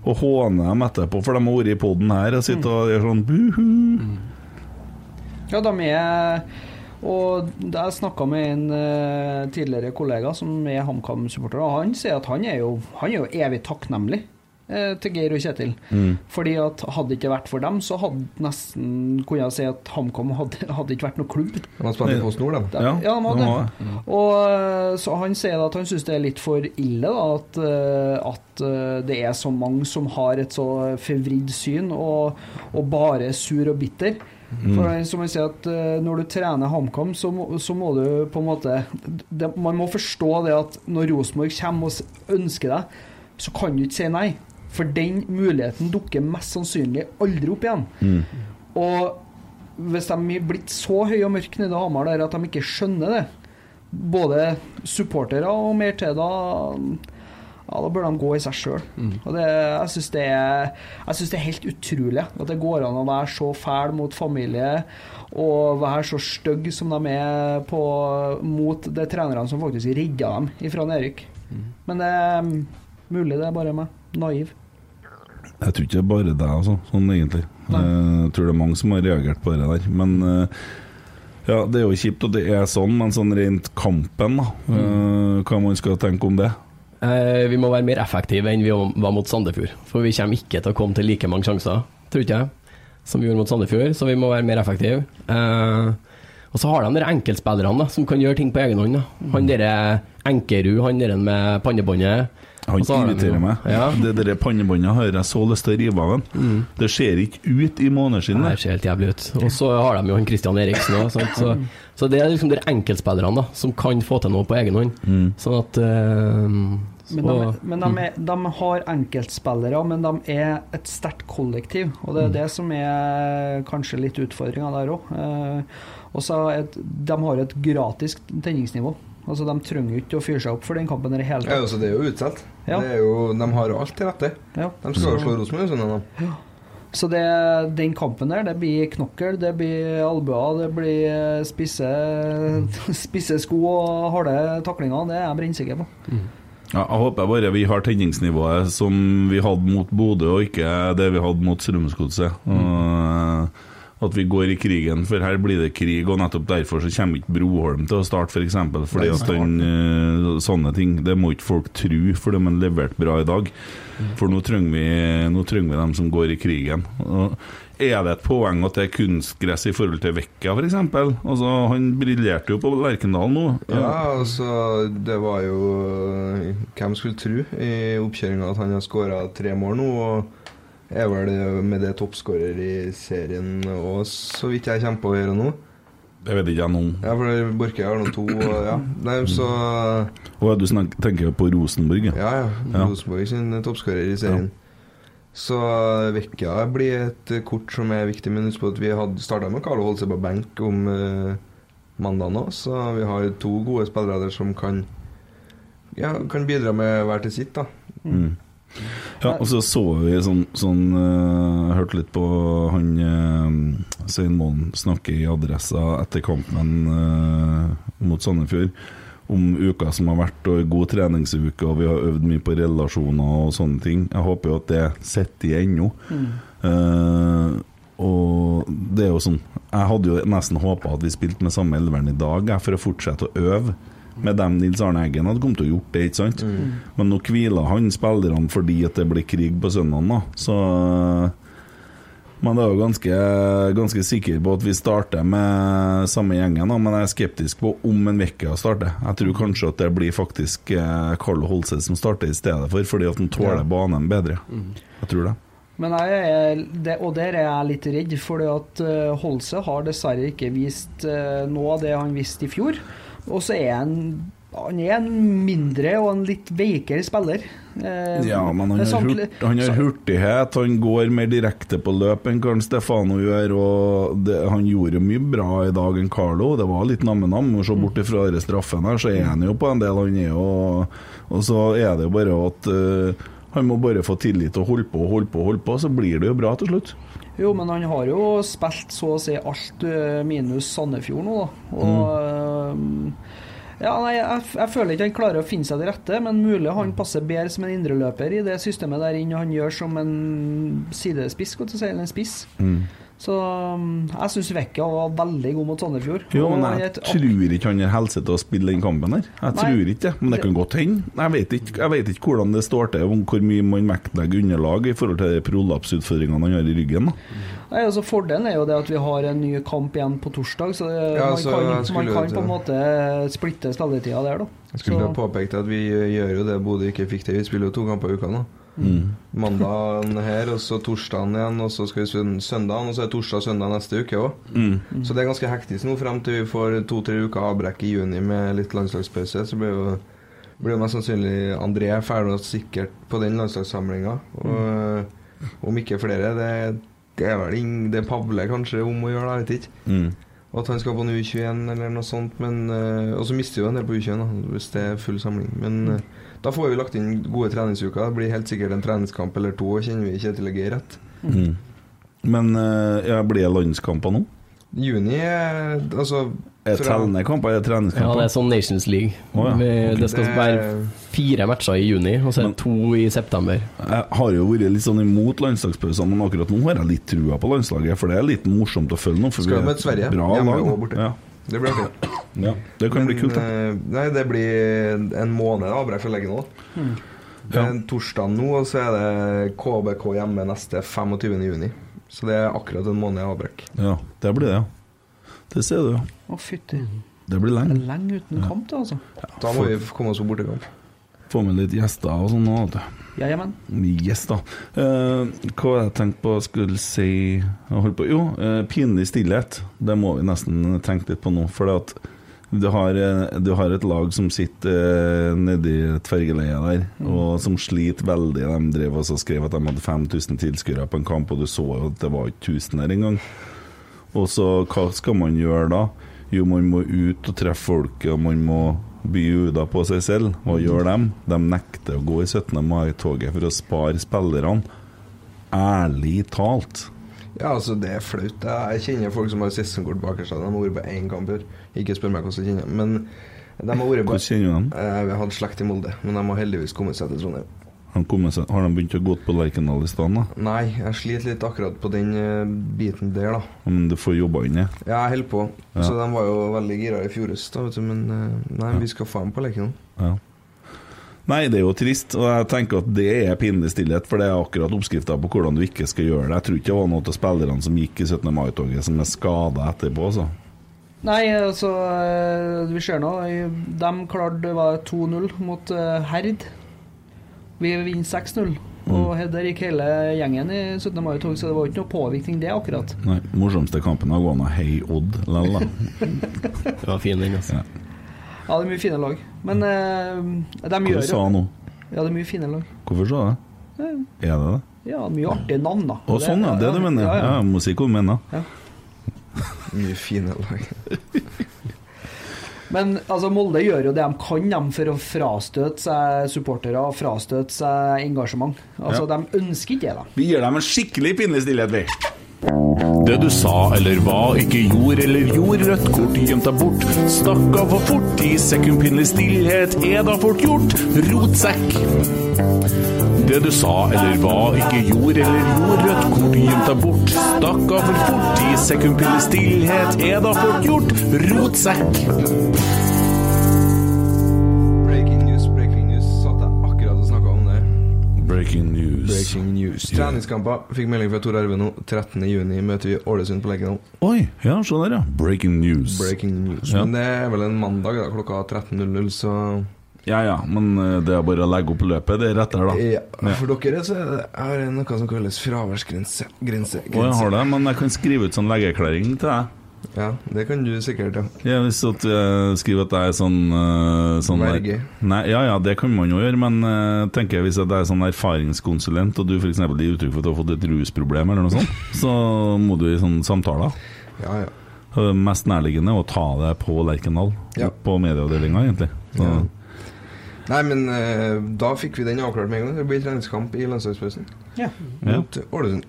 Og håner dem etterpå, for de har vært i poden her og sitter og gjør sånn buhu.
Mm. Ja, de er Og jeg snakka med en eh, tidligere kollega som er HamKam-supporter, og han sier at han er jo, han er jo evig takknemlig. eh, Til Geir og Kjetil.
Mm.
Fordi at Hadde det ikke vært for dem, så hadde nesten kunne jeg si at HamKam hadde, hadde ikke vært noen klubb.
Han har spilt i Post Nord, da.
Ja, ja de hadde.
har
det. Mm. Og eh, så han sier at han syns det er litt for ille da, at, eh, at eh, det er så mange som har et så forvridd syn og, og bare er sur og bitter. For han- som han sier at eh, Når du trener HamKam, så, må- så må du på en måte det, Man må forstå det at når Rosenborg kommer og s- ønsker deg, så kan du ikke si nei. For den muligheten dukker mest sannsynlig aldri opp igjen. Og hvis de er blitt så høye og mørke nede i Hamar der at de ikke skjønner det, både supportere og mer til, da ja, da bør de gå i seg sjøl. Og det, jeg syns det, er- jeg synes det er helt utrolig at det går an å være så fæl mot familie og være så stygg som de er på, mot de trenerne som faktisk redda dem ifra nedrykk. Men det er mulig det er bare meg. Naiv.
Jeg tror ikke det er bare deg, altså, sånn egentlig.
Nei.
Eh, Jeg tror det er mange som har reagert på det der. Men eh, ja, det er jo kjipt at det er sånn, men sånn rent kampen, da.
Mm.
eh, Hva man skal tenke om det.
Eh, vi må være mer effektive enn vi var mot Sandefjord. For vi kommer ikke til å komme til like mange sjanser, tror ikke jeg, som vi gjorde mot Sandefjord. Så vi må være mer effektive. Eh, og så har de de
Mm.
enkeltspillerne da, som kan gjøre ting på egen hånd. da. Han derre Enkerud, han derre med pannebåndet.
Han
Og så har de
irriterer
jo-
meg.
Ja.
Det der pannebåndet har jeg så lyst til å rive av han.
Mm.
Det ser ikke ut i måneskinnet.
Nei, det ser helt jævlig ut. Og så har de jo han Christian Eriksen òg. Så, så det er liksom de enkeltspillerne da, som kan få til noe på egen hånd. Sånn at eh, så,
Men, de, men de, er, de har enkeltspillere, men de er et sterkt kollektiv. Og det er det som er kanskje litt utfordringa der òg. Og så er et- de har et gratis tenningsnivå. Altså, De trenger jo ikke å fyre seg opp for den kampen. i det hele
Ja,
tatt.
altså, det er jo utsatt.
Ja.
Det er jo, de har alt til rette. De skal jo
Så-
slå Rosenborg, sånn at de.
Så det, den kampen der, det blir knokkel, det blir albuer, det blir eh, spisse, [LAUGHS] spisse sko og harde taklinger. Det er jeg brennsikker på.
Ja, jeg håper bare vi har tenningsnivået som vi hadde mot Bodø, og ikke det vi hadde mot Strømsgodset.
Mm.
Og, eh, At vi går i krigen, for her blir det krig, og nettopp derfor så kommer ikke Broholm til å starte, f.eks. For eksempel, fordi
Nei,
at den, eh, sånne ting Det må ikke folk tro, for de har levert bra i dag.
Mm.
For nå trenger vi, nå trenger vi dem som går i krigen. Og er det et poeng at det er kunstgress i forhold til Vekka, f.eks.? Altså, han briljerte jo på Lerkendal nå.
Ja, altså, det var jo Hvem skulle tro i oppkjøringa at han har skåra tre mål nå, og er vel med det toppskårer i serien og så vidt jeg kommer på å gjøre nå.
Det vet ikke jeg noe om.
Ja, for Borke har nå to, og ja. Nei, så
Og du snak- tenker på Rosenborg, ja?
Ja, ja.
Ja.
Rosenborg sin toppskårer i serien. Så Vekka blir et kort som er viktig, men husk på at vi hadde starta med Carlo Holse på benk om uh, mandag nå, så vi har to gode spillere der som kan ja, kan bidra med hver til sitt, da.
Mm. Ja, og så så vi sånn, sånn eh, Hørte litt på han eh, Svein Målen snakke i Adressa etter kampen eh, mot Sandefjord om uka som har vært, og god treningsuke, og vi har øvd mye på relasjoner og sånne ting. Jeg håper jo at det sitter i ennå. Eh, og det er jo sånn Jeg hadde jo nesten håpa at vi spilte med samme elveren i dag, jeg, for å fortsette å øve. Med dem Nils Arne Eggen hadde kommet til å gjort det, ikke sant? Men nå hviler han spillerne fordi at det blir krig på søndagen, da. Så eh, Men det er jo ganske, ganske sikker på at vi starter med samme gjengen, da. Men jeg er skeptisk på om en uke starter. Jeg tror kanskje at det blir faktisk eh, Karl Holse som starter i stedet for, fordi at han tåler
Ja.
banen bedre. Jeg tror det.
Men jeg er, det, og der er jeg litt redd, for at eh, Holse har dessverre ikke vist eh, noe av det han viste i fjor. Og så er han han er en mindre og en litt veikere spiller. Eh,
Ja, men han
det er
har,
sant-
hurt, han har hurtighet, han går mer direkte på løp enn Carl Stefano gjør. Og det, han gjorde mye bra i dag enn Carlo, det var litt namme-nam. og Se
Mm.
bort ifra denne straffen her, så er han jo på en del. Han er jo, og så er det jo bare at eh, han må bare få tillit og holde på og holde på, og holde på, så blir det jo bra til slutt.
Jo, men han har jo spilt så å si alt eh, minus Sandefjord nå, da. Og
Mm.
eh, Ja, nei, jeg, jeg føler ikke han klarer å finne seg til rette, men mulig han passer bedre som en indreløper i det systemet der inne han gjør som en sidespiss, skal jeg si, eller en spiss.
Mm.
Så um, jeg syns Vekka var veldig god mot Sandefjord.
Jo,
Og
men
han er
jeg
et-
tror ikke han har helse til å spille den kampen her. Jeg
Nei.
tror ikke det, men det kan godt hende. Jeg vet ikke, jeg vet ikke hvordan det står til, om hvor mye man vektlegger underlag i forhold til de prolapsutfordringene han har i ryggen. da
Nei, altså Fordelen er jo det at vi har en ny kamp igjen på torsdag, så det-
Ja,
man,
så jeg
kan,
skulle
man
jo
kan
til-
på en måte splitte spilletida der, da.
Jeg skulle ha
Så-
påpekt at vi eh, gjør jo det Bodø ikke fikk til. Vi spiller jo to kamper i uka nå.
Mm.
Mandagen her, og så torsdagen igjen, og så skal vi spille søndagen, og så er det torsdag og søndag neste uke òg. Så det er ganske hektisk nå frem til vi får to-tre uker avbrekk i juni med litt landslagspause. Så blir jo blir jo mest sannsynlig André ferdig og sikkert på den landslagssamlinga. Og øh, om ikke flere. Det, det er vel ing- det Pavle kanskje om å gjøre, da, jeg vet ikke.
Mm.
Og at han skal på en U21 eller noe sånt. Men, øh, og så mister jo en del på U21 da, hvis det er full samling. Men øh, da får vi lagt inn gode treningsuker. Det blir helt sikkert en treningskamp eller to, og kjenner vi Kjetil Geir rett.
Mm. Men eh, ja, blir det landskamper nå?
Juni er altså
Er det
fra-
tellende kamper? Er det
ja,
treningskamper?
det er sånn Nations League.
Å, ja.
Vi- Det skal
Det-
være fire matcher i juni, og så er det to i september.
Jeg har jo vært litt sånn imot landslagspausene, men akkurat nå har jeg litt trua på landslaget. For det er litt morsomt å følge nå. For
Skal
vi er
møte Sverige,
et Bra
hjemme
lag.
og borte.
Ja.
Det blir artig.
Ja. Det
Men,
kan bli kult, det.
eh, Nei, det blir en måned avbrekk for legge nå. Det er en torsdag nå, og så er det KBK hjemme neste 25. juni. Så det er akkurat en måned avbrekk.
Ja, det blir det, ja. Det ser du, ja.
Å, fytti.
Mm.
Det blir
Det
lenge.
er lenge uten kamp, det, altså.
Da må vi komme oss på bortekamp.
Få med litt gjester og sånn. nå, vet du.
Ja, jamen.
Yes, da. Eh, hva var det jeg tenkte på skulle si jeg holdt på. Jo, eh, pinlig stillhet. Det må vi nesten tenke litt på nå. For at du har, eh, du har et lag som sitter eh, nedi tverrgeleiet der, og som sliter veldig. De drev også og skrev at de hadde 5000 tilskuere på en kamp, og du så jo at det var ikke 1000 der engang. Og så hva skal man gjøre da? Jo, man må ut og treffe folket, og man må bjuda på seg selv. Hva gjør dem? De nekter å gå i 17. mai-toget for å spare spillerne. Ærlig talt.
Ja, altså, det er flaut. Jeg kjenner folk som har sesongkort bakerst. De har vært på én kamp før. Ikke spør meg hvordan jeg kjenner dem, men de har vært på
Hvordan kjenner du dem?
Eh, Vi har hatt slekt i Molde, men de har heldigvis kommet seg til Trondheim.
Han kommer seg, har de begynt å gå på Lerkendal i stedet? da?
Nei, jeg sliter litt akkurat på den eh, biten der, da.
Men du får jobba inni.
Ja, jeg holder på.
Ja.
Så de var jo veldig gira i fjor høst, da, vet du. Men eh, nei, vi skal faen på leken.
Ja. Nei, det er jo trist, og jeg tenker at det er pinlig stillhet, for det er akkurat oppskrifta på hvordan du ikke skal gjøre det. Jeg tror ikke det var noen av spillerne som gikk i 17. mai-toget som er skada etterpå, altså.
Nei, altså eh, Vi ser nå. eh, De klarte det var 2-0 mot eh, Herd. Vi vinner 6-0.
Mm.
Og der gikk hele gjengen i 17. mai-tog, så det var jo ikke noe påvirkning, det, akkurat.
Nei, morsomste kampen har gått an å heie Odd lell, [LAUGHS] da.
Det var fin, den, altså.
Ja, det er mye fine lag. Men eh, de
Hva
gjør
du sa nå?
Ja, det er mye fine lag.
Hvorfor sa jeg
Ja,
det? Er det det?
Ja, mye artige navn, da.
Å, sånn, ja. Det er det du mener? Ja, jeg må si hva du mener.
Mye fine lag.
Men altså, Molde gjør jo det de kan dem for å frastøte seg supportere og frastøte seg engasjement. Altså,
Ja.
De ønsker ikke det, da.
Vi gir dem en skikkelig pinlig stillhet, vi.
Det du sa eller hva, ikke gjorde eller gjorde, rødt kort gjemt deg bort. Stakk av for fort, ti sekund pinlig stillhet er da fort gjort. Rotsekk. Det du sa eller hva, ikke gjorde eller gjorde, rødt kort gjemt deg bort. Stakk av for fort, ti sekund pinlig stillhet er da fort gjort. Rotsekk.
Breaking news, breaking news. Satt jeg akkurat og snakka om det.
Breaking news.
Breaking news. Treningskamper. Fikk melding fra Tor Arve nå. 13.6 møter vi Ålesund på Lerkendal.
Oi, ja, se der, ja. Breaking news.
Breaking news.
Ja.
Men det er vel en mandag da, klokka 13.00, så
Ja ja, men eh, det er bare å legge opp løpet. Det er rett der, da.
ja. For dere så er det er det noe som kalles fraværsgrense. Grense.
Å, jeg
grense.
har det, men jeg kan skrive ut sånn legeerklæring til deg.
Ja, det kan du sikkert, ja.
Ja, hvis at jeg skriver at jeg er sånn, eh, sånn der-
Verge.
Nei, ja ja, det kan man jo gjøre, men eh, tenker jeg hvis at jeg er sånn erfaringskonsulent, og du f.eks. gir uttrykk for at du har fått et rusproblem eller noe
[LAUGHS]
sånt, så må du i sånne samtaler.
Ja, ja.
Eh, Mest nærliggende er å ta det på Lerkendal,
Ja.
på medieavdelinga, egentlig. Så,
Ja. Nei, men eh, da fikk vi den avklart med en gang. Det blir treningskamp i landslagspausen
Ja.
mot Ålesund.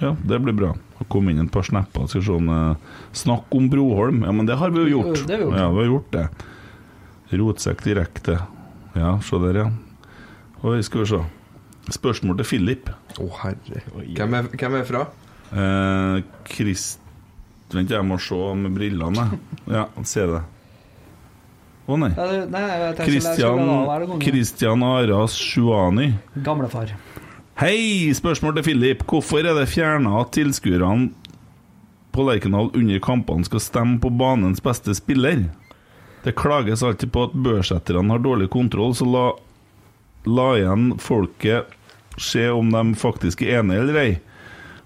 Ja, det blir bra. Det kom inn et par snapper. Skal vi se om eh, Snakk om Broholm. Ja, men det har vi jo gjort.
Det har vi gjort.
Ja, vi har gjort det. Rotsekk direkte. Ja, se der, ja. Oi, skal vi se. Spørsmål til Philip.
Å, herre. Hvem er, hvem er fra?
Eh, Krist... Vent, jeg må se med brillene. Ja, se det. Å nei.
Ja, det- nei, jeg tenkte jeg skulle
Christian,
la være å komme.
Christian Aras Shuani.
Gamlefar.
Hei! Spørsmål til Philip. Hvorfor er det fjerna at tilskuerne på Lerkendal under kampene skal stemme på banens beste spiller? Det klages alltid på at børsetterne har dårlig kontroll, så la, la igjen folket se om de faktisk er enige eller ei.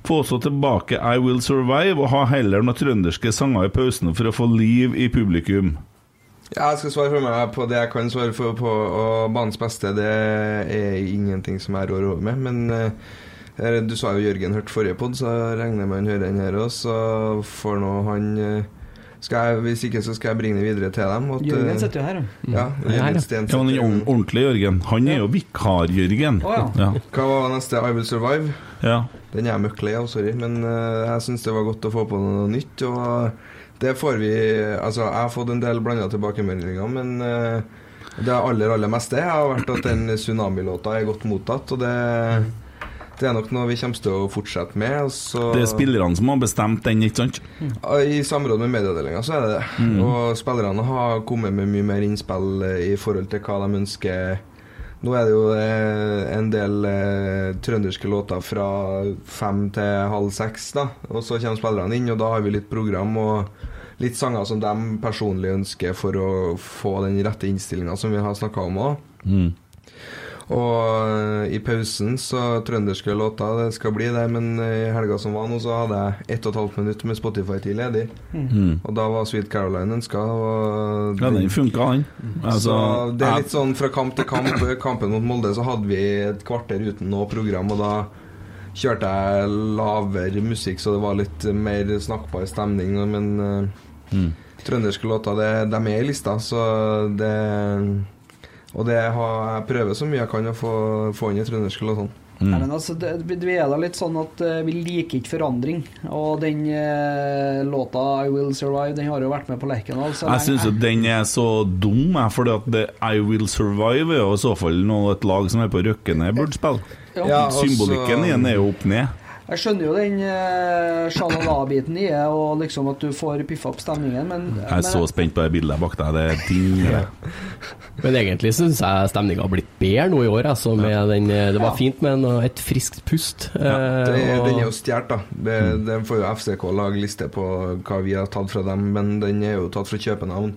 Få også tilbake I Will Survive, og ha heller noen trønderske sanger i pausene for å få liv i publikum.
Ja, jeg skal svare for meg på det jeg kan svare for på, og banens beste det er ingenting som jeg rår over med. Men eh, her- du sa jo Jørgen hørte forrige pod, så regner jeg med han hører den her òg, så får nå han eh, skal jeg, Hvis ikke, så skal jeg bringe det videre til dem. at, eh,
Jørgen sitter jo her, ja.
Ja, Jørgen Steen
Ja, men den
sitter-
ord- ordentlige Jørgen. Han er jo vikar-Jørgen.
Å,
ja.
Hva var neste? I Will Survive?
Ja.
Den er jeg møkk lei av, sorry. Men eh, jeg syns det var godt å få på noe nytt. Og eh, det får vi Altså, jeg har fått en del blanda tilbakemeldinger, men eh, det aller, aller meste har vært at den tsunamilåta er godt mottatt, og det det er nok noe vi kommer til å fortsette med. og Så
Det er spillerne som har bestemt den, ikke sant?
Ja, I samråd med medieavdelinga så er det det.
Mhm.
Og spillerne har kommet med mye mer innspill eh, i forhold til hva de ønsker. Nå er det jo eh, en del eh, trønderske låter fra fem til halv seks, da. Og så kommer spillerne inn, og da har vi litt program og litt sanger som de personlig ønsker for å få den rette innstillinga som vi har snakka om òg.
Mm.
Og i pausen så trønderske låter, det skal bli det, men i helga som var nå, så hadde jeg 1 12 minutt med Spotify-tid ledig.
Mm.
Og da var Sweet Caroline ønska. og-
Ja, den funka, han.
Mm.
Altså,
så det er litt
jeg-
sånn fra kamp til kamp. Kampen mot Molde så hadde vi et kvarter uten noe program, og da kjørte jeg lavere musikk, så det var litt mer snakkbar stemning. Men eh,
Mm.
trønderske låter, det, de er med i lista, så det Og det har, jeg prøver så mye jeg kan å få, få inn i trønderske låtene.
Mm.
Nei, men altså, det, vi er da litt sånn at eh, vi liker ikke forandring. Og den eh, låta 'I Will Survive' Den har jo vært med på Lerkendal. så
Jeg
lenge-
syns jo den er så dum, jeg, fordi at det I Will Survive er jo i så fall noe et lag som er på Røkkene burde spille.
Ja. Ja, og så-
Symbolikken igjen er jo opp ned.
Jeg skjønner jo den eh, sjalala-biten i det, og liksom at du får piffa opp stemningen, men,
Jeg er
men
så spent på det bildet bak deg, det dingler.
Men egentlig syns jeg stemninga har blitt bedre nå i år. Altså, med den, det var fint med en, et friskt pust. eh,
Det,
og-
den er jo stjålet, da. Det,
Mm.
det får jo FCK lage liste på hva vi har tatt fra dem, men den er jo tatt fra København.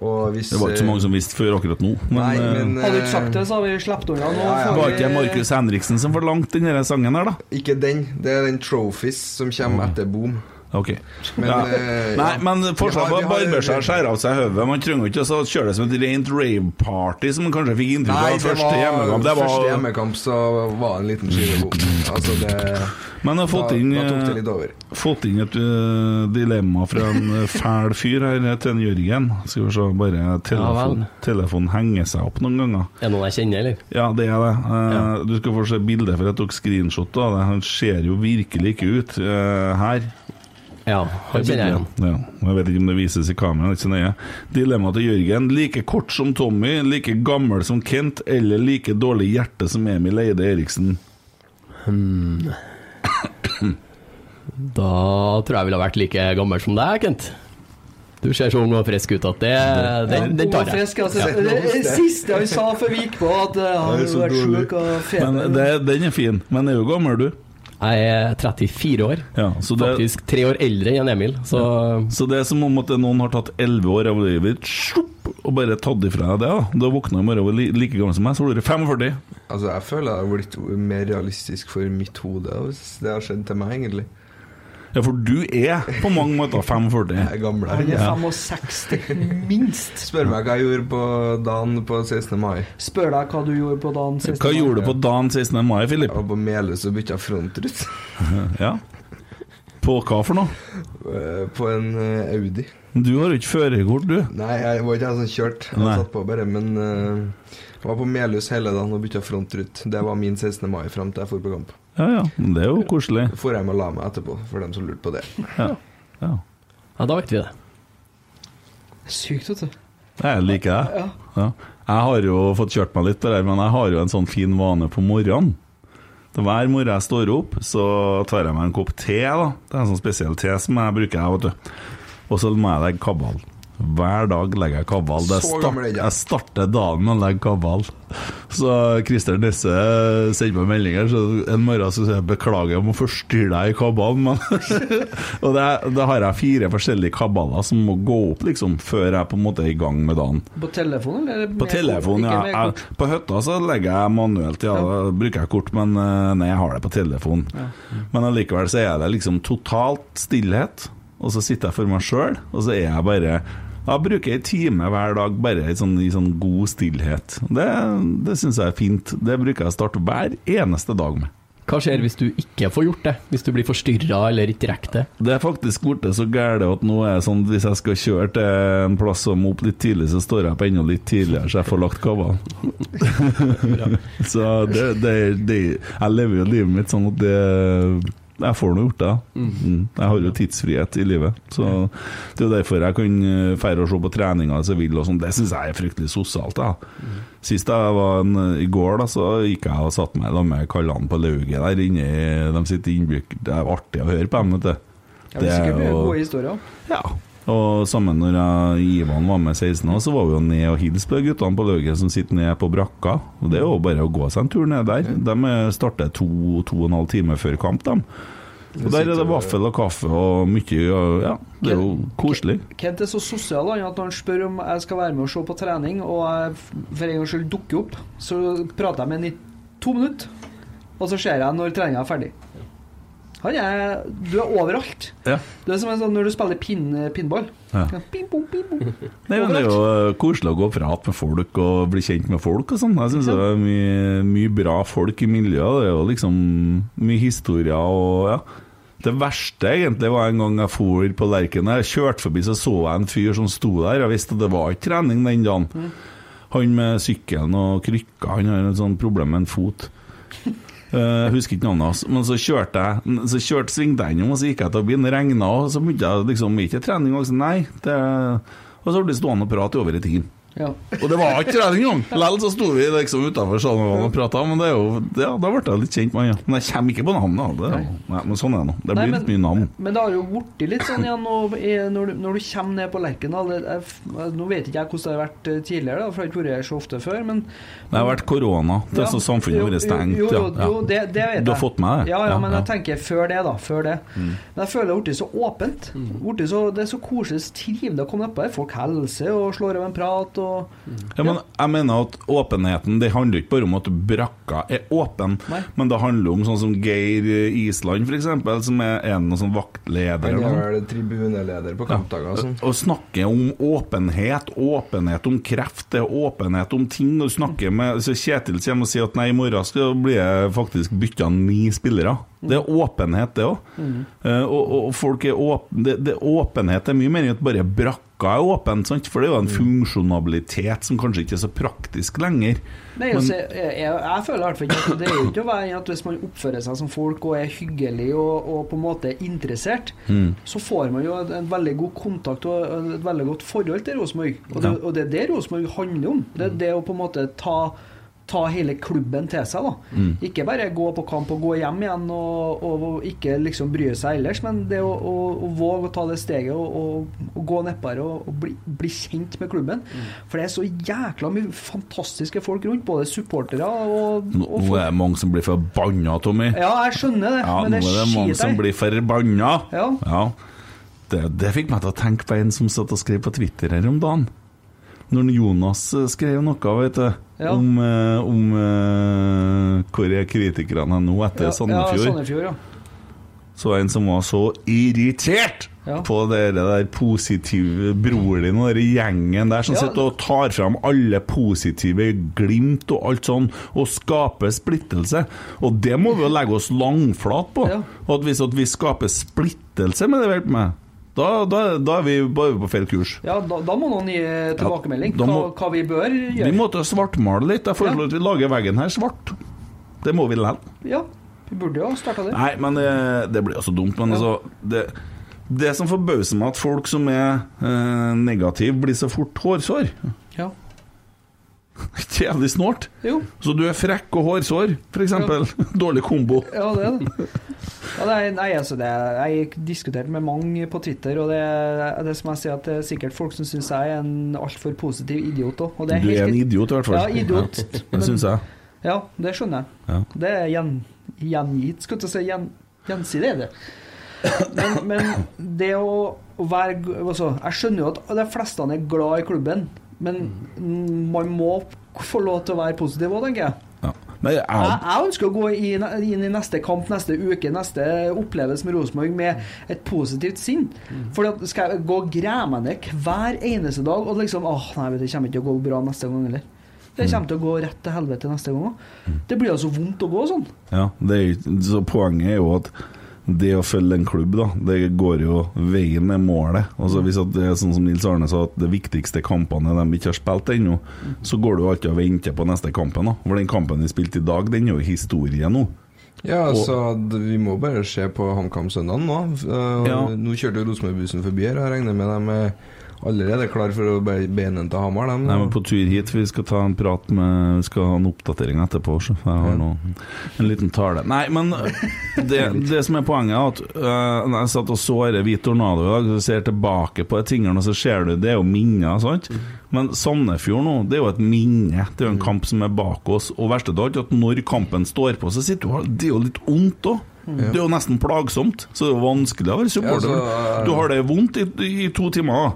Og hvis,
Det var ikke så mange som visste før akkurat nå. Men,
Nei,
eh,
men, eh,
Hadde du ikke sagt det, så hadde vi sluppet unna. Nå
Det
får
var
vi-
ikke Markus Henriksen som forlangte denne sangen her, da?
Ikke den. Det er den Trophies som
Mm.
kommer etter Boom.
Ok.
Men,
ja.
eh,
Nei,
ja.
men
Vi
fortsatt
har-
bare
vi har-
barber seg og skjære av seg hodet. Man trenger ikke å kjøre det som et rent rave-party, som man kanskje fikk inntrykk
Nei,
av
det
første
var,
hjemmekamp. Det
første
var
hjemmekamp så var det en liten skivebom. Altså det
Men jeg har fått
da,
inn,
Da tok det litt over.
eh, fått inn et eh, dilemma fra en eh, fæl fyr her, eh, til en Jørgen. Skal vi se, bare telefon,
vel.
telefonen henger seg opp noen ganger.
Er det noen jeg kjenner, eller?
Ja, det er det. Eh, Du skal få se bildet, for jeg tok screenshot av det. Han ser jo virkelig ikke ut eh, her.
Ja, han kjenner jeg igjen.
Ja, og jeg vet ikke om det vises i kameraet, det er ikke så nøye. Dilemmaet til Jørgen. Like kort som Tommy, like gammel som Kent, eller like dårlig hjerte som Emil Eide Eriksen?
Da tror jeg jeg ville ha vært like gammel som deg, Kent. Du ser så ung og frisk ut at det, den, den tar
Ung og
jeg.
frisk, altså, det, det siste han sa før vi gikk på, at eh, han
Det er så
hadde vært
dårlig.
sjuk og feber.
Men det, den er fin. Men er jo gammel, du.
Jeg er 34 år.
så det-
Faktisk tre år eldre enn Emil. Så
Så det er som om at noen har tatt 11 år av livet ditt slupp, og bare tatt ifra deg det. Da Da våkna jeg i morgen og var li- like gammel som meg, så blir du 45.
Altså jeg føler det har blitt mer realistisk for mitt hode, hvis det har skjedd til meg, egentlig.
Ja, for du er på mange måter 45. Jeg
er gammel.
Han er
Ja.
65, minst.
Spør meg hva jeg gjorde på dagen på 16. mai.
Spør deg hva du gjorde på dagen sist.
Hva gjorde du på dagen 16. mai, Filip?
Jeg var på Melhus og bytta frontrut.
Ja. På hva for noe?
Eh, På en eh, Audi.
Du har jo ikke førerkort, du.
Nei, jeg var ikke jeg som kjørte. Jeg
Nei.
satt på bare, men eh, jeg var på Melhus hele dagen og bytta frontrut. Det var min 16. mai fram til jeg dro på kamp.
Ja, ja, men det er jo koselig.
Så får jeg meg la meg etterpå, for dem som lurte på det.
Ja. Ja.
ja, da vet vi det.
Sykt, vet du.
Jeg liker det. Ja. Jeg har jo fått kjørt meg litt på det der, men jeg har jo en sånn fin vane på morgenen. Så Hver morgen jeg står opp, så tar jeg meg en kopp te. da Det er en sånn spesiell te som jeg bruker. jeg, vet du Og så må jeg legge kabal. Hver dag legger jeg kabal. Det er
Så
start,
gammel er jeg.
jeg starter dagen med å legge kabal. Så Christer Nesse sendte meg meldinger, så en morgen så sier jeg 'beklager, jeg må forstyrre deg i kabalen'. Men [LAUGHS] og det, er- da har jeg fire forskjellige kabaler som må gå opp liksom før jeg på en måte er i gang med dagen.
På telefon, eller?
På
med-
telefonen,
ikke
ja.
med
Jeg,
kort?
på hytta så legger jeg manuelt, ja, da bruker jeg kort, men eh, nei, jeg har det på telefon. Men allikevel så er det liksom totalt stillhet, og så sitter jeg for meg sjøl, og så er jeg bare da bruker jeg en time hver dag bare i sånn, i sånn god stillhet. Det, det syns jeg er fint. Det bruker jeg å starte hver eneste dag med.
Hva skjer hvis du ikke får gjort det? Hvis du blir forstyrra eller ikke rekker det?
Det er faktisk blitt så gæle at nå er det sånn hvis jeg skal kjøre til en plass som opp litt tidlig, så står jeg på enda litt tidligere, så jeg får lagt kabalen. så det, det, det Jeg lever jo livet mitt sånn at det jeg får nå gjort det. Mm. Jeg har jo tidsfrihet i livet. Så Det er jo derfor jeg kan eh, fære og se på treninga hvis jeg vil. Og sånn. det syns jeg er fryktelig sosialt.
Mm.
Da. Sist jeg var en, I går da, så gikk jeg og satte meg sammen med Kallan på lauget der inne. i- De sitter innbygd. Det er artig å høre på dem, vet du.
Ja, det er jo Gode historier.
Ja. Og sammen når jeg, Ivan var med 16 år, så var vi jo ned og hilse på de guttene på Lauget som sitter nede på brakka. Og Det er jo bare å gå seg en tur ned der. De eh, starter to, to og en halv time før kamp, de. Og Der er det vaffel og kaffe og mye og- Ja, det er jo koselig.
Kent er så sosial han, at når han spør om jeg skal være med og se på trening, og jeg f- for en gangs skyld dukker opp, så prater jeg med han i to minutter. Og så ser jeg når treninga er ferdig. Han er Du er overalt.
Ja.
Du er som en sånn når du spiller pin, pinball.
Ja.
Ping, pong, ping, pong.
Nei, men Det er jo eh, koselig å gå og prate med folk og bli kjent med folk og sånn. Jeg syns det er mye, mye bra folk i miljøet. Det er jo liksom mye historier og ja. Det verste egentlig var en gang jeg for på Lerken. Jeg kjørte forbi, så så jeg en fyr som sto der. Jeg visste at det var ikke trening den dagen. Han med sykkelen og krykka, han har et sånt problem med en fot. Eh, Jeg husker ikke navnet hans. Men så kjørte jeg Så kjørte svingte jeg innom, og så gikk jeg til bilen. Regna, og så begynte jeg liksom Ikke trening, og så nei. Det, og så ble det stående og prate i over en time.
Ja.
Og det var ikke trening engang! Likevel så sto vi liksom utafor salen og prata, men det er jo, ja, da ble jeg litt kjent med han. Ja. Men jeg kommer ikke på navnet. Det, er jo- nei, men sånn er det nå. Det
Nei,
blir
men-
litt mye navn.
Men det har jo blitt litt sånn igjen nå, i- når, du, når du kommer ned på Lerkendal det er f- Nå vet ikke jeg hvordan det har vært eh, tidligere, da, for jeg har ikke vært her så ofte før. Men
Det har vært korona, det er så samfunnet
Jo,
vårt er stengt.
Jo, jo,
ja,
jo
ja.
det, det vet jeg.
Du har fått med det?
Ja,
Ja,
ja, men
ja. Mm.
jeg tenker før det, da. Før det. Men jeg føler det har blitt så åpent. Blitt så, det er så koselig, så trivelig å komme nedpå her. Folk hilser og slår av en prat og
Ja, men jeg mener at åpenheten Det handler ikke bare om at brakka er åpen, men det handler om sånn som Geir eh, Island, f.eks., som er en av sånne vaktledere.
Han
eller noe
er vel tribuneleder på kampdager og sånn.
sånt. Å snakke om åpenhet, åpenhet om kreft, det er åpenhet om ting. Når du snakker med så Kjetil kommer og sier at nei, i morgen skal bli faktisk bytta ni spillere. Det er åpenhet, det òg.
Mm.
Eh, Og, og og folk er åp det, det, åpenhet er mye mer enn at bare brakka er åpen, sant? for det er jo en
Mm.
funksjonalitet som kanskje ikke er så praktisk lenger.
Nei, altså, jeg, jeg, jeg føler i hvert fall ikke at det er jo ikke å være at hvis man oppfører seg som folk og er hyggelig og, og på en måte er interessert,
Mm.
så får man jo en, en veldig god kontakt og en- et veldig godt forhold til Rosenborg. Og, det-
Ja. Mm.
og det er det Rosenborg handler om. Det er det å på en måte ta, ta hele klubben til seg. da.
Mm.
Ikke bare gå på kamp og gå hjem igjen og, og, og ikke liksom bry seg ellers, men det å, å, å våge å ta det steget og, og, og gå nedpå her og, og bli, bli kjent med klubben. For det er så jækla mye fantastiske folk rundt, både supportere og,
Nå,
og
nå er det mange som blir forbanna, Tommy.
Ja, jeg skjønner det,
Ja,
men
nå
det
er det mange
skiter
som
jeg i.
blir forbanna.
Ja.
Det, det fikk meg til å tenke på en som satt og skrev på Twitter her om dagen. Når Jonas eh, skrev noe vet du,
Ja.
om, eh, om eh, hvor er kritikerne nå etter Sandefjord,
Ja, Sandefjord, ja.
så var det en som var så irritert
Ja.
på det der positive broren din og den gjengen der som
Ja.
sitter og tar fram alle positive glimt og alt sånn, og skaper splittelse. Og det må vi jo legge oss langflat på. Og at hvis at vi skaper splittelse med det vi holder på med, da, da, da er vi bare på feil kurs.
Ja, da, da må noen gi tilbakemelding.
da må-
hva, hva vi bør gjøre.
Vi må til å svartmale litt. Jeg foreslår at vi lager veggen her svart. Det må vi likevel.
Ja, vi burde jo ha starta det.
Nei, men det, det blir jo så dumt. Men altså, det, det som forbauser meg, at folk som er eh, negative, blir så fort hårsår. [LAUGHS]
Ja.
Ikke jævlig snålt.
Jo.
Så du er frekk og hårsår, f.eks. [LAUGHS] Dårlig kombo.
Ja, det er det. Ja, det er, nei, altså det er, jeg diskuterte med mange på Twitter, og det, er- det som jeg sier at det er sikkert folk som syns jeg er en altfor positiv idiot òg. Og det er
Du er
helt
en idiot, i hvert fall.
Ja, idiot.
Ja, det syns jeg.
Ja, det skjønner jeg.
Ja.
Det er gjen, gjengitt, skulle jeg til å si. Gjen, gjensidig er det. Men, men det å å være g- altså, Jeg skjønner jo at de fleste er glad i klubben, men
Mm.
man må få lov til å være positiv òg, tenker jeg.
Nei,
Jeg,
jeg,
jeg ønsker å gå i- inn i neste kamp, neste uke, neste opplevelse med Rosenborg med et positivt sinn.
Mm.
For at skal jeg gå og grave meg ned hver eneste dag og liksom åh, nei, vet du, det kommer ikke til å gå bra neste gang heller. Det
Mm.
kommer til å gå rett til helvete neste gang òg. Det blir jo så vondt å gå sånn.
Ja, det er, jo- så poenget er jo at det å følge en klubb, da, det går jo veien med målet. Altså Hvis at det er sånn som Nils Arne sa, at de viktigste kampene de ikke har spilt ennå, så går du alltid og venter på neste kampen. da For den kampen vi spilte i dag, den er jo historie nå.
Ja,
Og-
altså, d- vi må bare se på HamKam søndagen nå. Eh, og
Ja.
Nå kjørte jo Rosenborg-bussen forbi her, og jeg regner med de er allerede klar for å be- beine den til Hamar. dem.
Nei, men På tur hit vi skal ta en prat med Vi skal ha en oppdatering etterpå. Så jeg har nå en liten tale. Nei, men det, det som er poenget, er at øh, når jeg satt og så dette Hvit tornado i dag, så ser jeg tilbake på de tingene, og så ser du det er jo minner. Sant? Men Sandefjord nå, det er jo et minne. Det er jo en kamp som er bak oss. Og verste av alt, at når kampen står på, så sitter du og Det er jo litt vondt òg. Det er jo nesten plagsomt, så det er jo vanskelig å være supporter.
Ja, så-
Du har det vondt i, i to timer,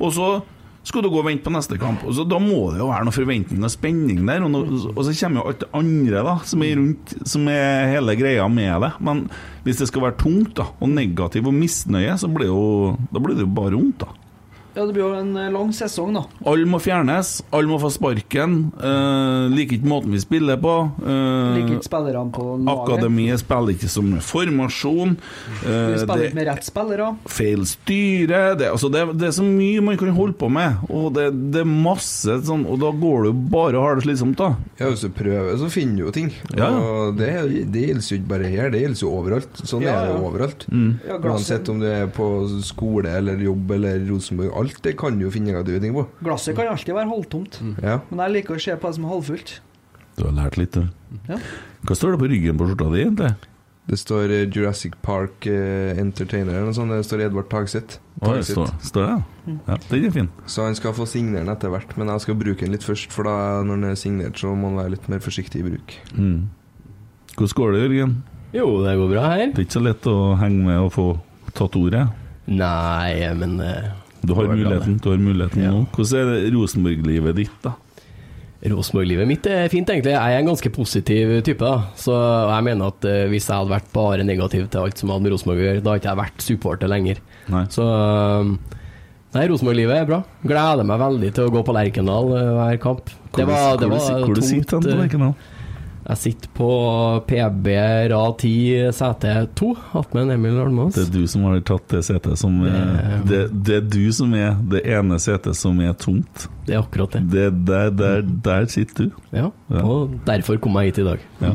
og så skal du gå og vente på neste kamp. Og så, da må det jo være noe forventning og spenning der, og, nå- og så kommer jo alt det andre da, som er rundt, som er hele greia med det. Men hvis det skal være tungt da, og negativ og misnøye, så blir, jo, da blir det jo bare vondt, da.
Ja, det blir jo en eh, lang sesong, da.
Alle må fjernes, alle må få sparken. Uh, liker ikke måten vi spiller på. eh,
Liker ikke spillerne på laget.
Akademiet spiller ikke som formasjon. eh,
Vi spiller
det
ikke med rett spillere.
feil styre det, altså det, det er så mye man kan holde på med, og det, det er masse sånn Og da går det jo bare og har det slitsomt, da.
Ja, hvis du prøver, så finner du jo ting.
Ja.
Og det, det gjelder jo ikke bare her, det gjelder jo overalt. Sånn
Ja,
er det
ja.
jo overalt.
Mm. Ja, glasset-
Uansett om du er på skole eller jobb eller Rosenborg, alt det kan du jo finne deg ting på.
Glasset kan alltid være halvtomt,
Mm.
Ja.
men jeg liker å se på det som halvfullt.
Du har lært litt, du. Hva står det på ryggen på skjorta di, egentlig?
Det står eh, Jurassic Park eh, Entertainer eller noe sånt. Det står Edvard Tagseth.
Å, det står, står det? ja. Ja, den er fin.
Så han skal få signere den etter hvert, men jeg skal bruke den litt først. For da når den er signert, så må han være litt mer forsiktig i bruk.
Mm. Hvordan går det, Jørgen?
Jo, det går bra her.
Det er ikke så lett å henge med og få tatt ordet?
Nei, men eh,
Du har
det går bra, det.
muligheten, du har muligheten nå. Hvordan er det Rosenborg-livet ditt, da?
Rosenborg-livet mitt er fint, egentlig. Jeg er en ganske positiv type. da. Så jeg mener at eh, hvis jeg hadde vært bare negativ til alt som hadde med Rosenborg å gjøre, da hadde ikke jeg vært supporter lenger. Så eh, Nei, Rosenborg-livet er bra. Gleder meg veldig til å gå på Lerkendal eh, hver kamp.
Hvor du- hvor du sit- hvor du sitter hen på
eh,
Lerkendal?
Jeg sitter på PB rad 10 sete 2 attmed en Emil Almås.
Det er du som har tatt det setet som eh, det, det er du som er det ene setet som er tomt.
Det er akkurat det.
Mm. der, der, der sitter du.
Ja, og derfor kom jeg hit i dag. Mm.
Ja.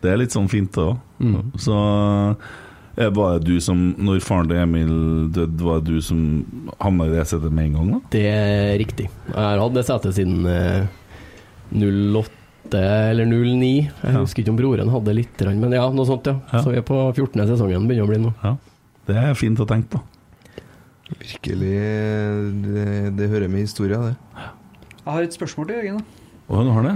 Det er litt sånn fint, det òg. Så eh, var det du som, når faren til Emil døde, var det du som havna i det setet med en gang, da?
Det er riktig. Jeg har hatt det setet siden eh, 08 eller 09. Jeg husker ikke om broren hadde det litt, grann, men ja, noe sånt, ja. Så vi er på 14. sesongen, begynner å bli nå.
Det er fint å tenke på.
Virkelig Det, det hører med historia, det.
Jeg har et spørsmål til Jørgen. da.
Å, du har det?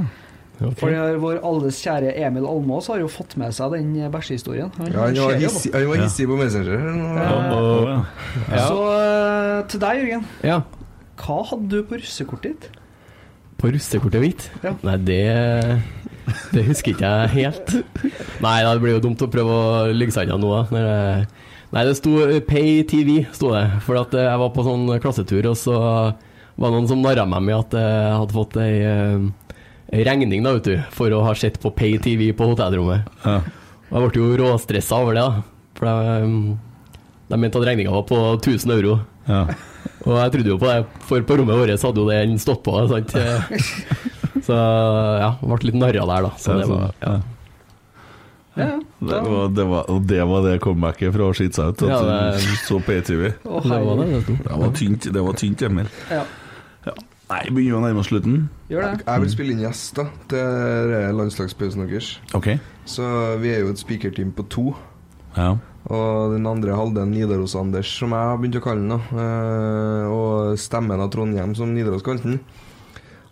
For det er vår alles kjære Emil Almås har jo fått med seg den eh, bæsjehistorien. Han,
Ja, han var
ser jo
hissig,
på.
han var hissig på Messenger.
Å,
Ja.
Så eh, til deg, Jørgen.
Ja.
Hva hadde du på russekortet ditt?
På russekortet mitt?
Ja.
Nei, det Det husker ikke jeg helt. Nei, da, det blir jo dumt å prøve å ligge seg unna nå. da, Når jeg, nei, det sto eh, Pay TV, sto det. For at eh, jeg var på sånn klassetur, og så var det noen som narra meg med at eh, jeg hadde fått ei eh, ei regning da, vet du, for å ha sett på Pay TV på hotellrommet. Og jeg ble jo råstressa over det, da. For jeg, mm, de mente at regninga var på 1000 euro. Og jeg trodde jo på det, for på rommet vårt så hadde jo den stått på. Sant? Så ja, ble litt narra der, da. Så det var, ja.
Det var det, var, og det, var det comebacket fra å skite seg ut. At
Ja,
du
det-
Så E PTV.
Å, Det var det,
det.
var tynt, det var tynt Emil.
Ja.
Nei, begynner å nærme oss slutten.
Jeg, jeg vil spille inn gjest da til eh, landslagspausen deres.
Ok.
Så vi er jo et speakerteam på to.
Ja.
Og den andre halvdelen Nidaros-Anders, som jeg har begynt å kalle den. da eh, Og stemmen av Trondheim, som Nidaros kalte den.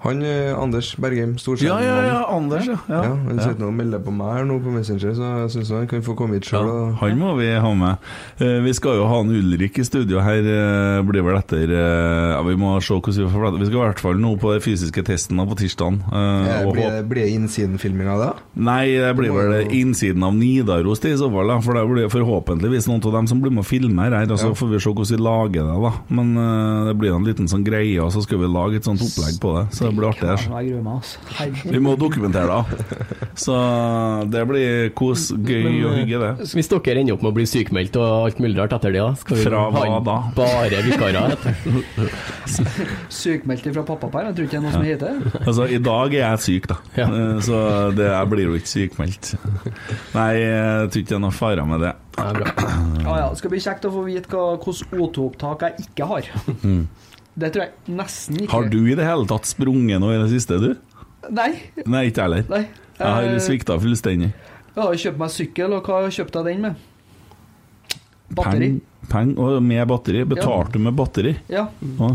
Han eh, Anders Bergheim, storskjermen.
Ja, ja, ja, Anders, ja. Ja.
han
Ja.
sitter nå og melder på meg her nå på Messenger, så jeg syns han kan få komme hit sjøl. og-
Han må vi ha med. Eh, Vi skal jo ha en Ulrik i studio her, eh, blir vel etter eh, ja, Vi må se hvordan vi får plass. Vi skal i hvert fall nå på den fysiske testen da på tirsdag.
Eh, Blir det- blir det innsidenfilming av det?
Nei, det blir vel det innsiden av Nidaros det i så fall, da. For det blir forhåpentligvis noen av dem som blir med og filmer her. Og så
Ja.
får vi se hvordan vi lager det, da. Men eh, det blir en liten sånn greie, og så skal vi lage et sånt opplegg på det. Så det blir artig.
Ja,
her.
jeg gruer meg, altså. Herregud.
Vi må dokumentere det. Så det blir kos, gøy
eh,
og hygge, det.
Hvis dere ender opp med å bli sykemeldt og alt mulig rart etter det, da skal vi
Fra
ha
hva
inn
da?
bare vikarer. Etter.
Sykmeldt fra pappaperm, jeg tror ikke det er noe som heter det.
Altså, i dag er jeg syk, da. Eh, Så det, jeg blir jo ikke sykmeldt. Nei, jeg tror ikke det er noe fare med det.
Ja, ja. Det skal bli kjekt å få vite hva- hvordan O2-opptak jeg ikke har.
Mm.
Det tror jeg nesten ikke.
Har du i det hele tatt sprunget nå i det siste, du?
Nei.
Nei, ikke jeg heller.
Nei.
Jeg har
Eh,
svikta fullstendig.
Jeg har jo kjøpt meg sykkel, og hva kjøpte jeg den med? Batteri.
Peng, peng og med batteri. Betalte du med batteri?
Ja.
Å.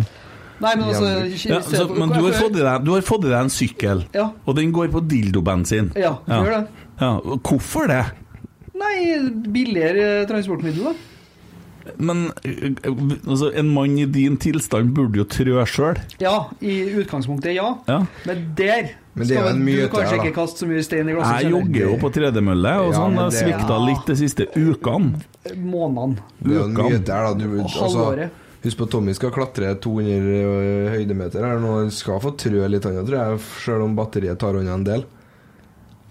Nei, men altså
ja, så, Men du har, fått i deg, du har fått i deg en sykkel,
Ja.
og den går på dildobensin.
Ja, gjør det.
Ja, Hvorfor det?
Nei, billigere transportmiddel, da.
Men eh, altså, en mann i din tilstand burde jo trø sjøl.
Ja, i utgangspunktet, ja.
Ja.
Men der
Men det er jo
skal
en myte
du kanskje
her, da.
ikke kaste så mye stein i glasset.
Jeg jogger jo på tredemølle, og
Altså, Ja,
sånn.
men
Jeg
det-
svikta
Ja.
litt de siste ukene.
Månedene.
Det er jo en
Ukan.
myte her, da. Du,
Og
altså,
halvåret.
husk på Tommy skal klatre 200 høydemeter her nå. Han skal få trø litt, han òg, tror jeg, selv om batteriet tar unna en del.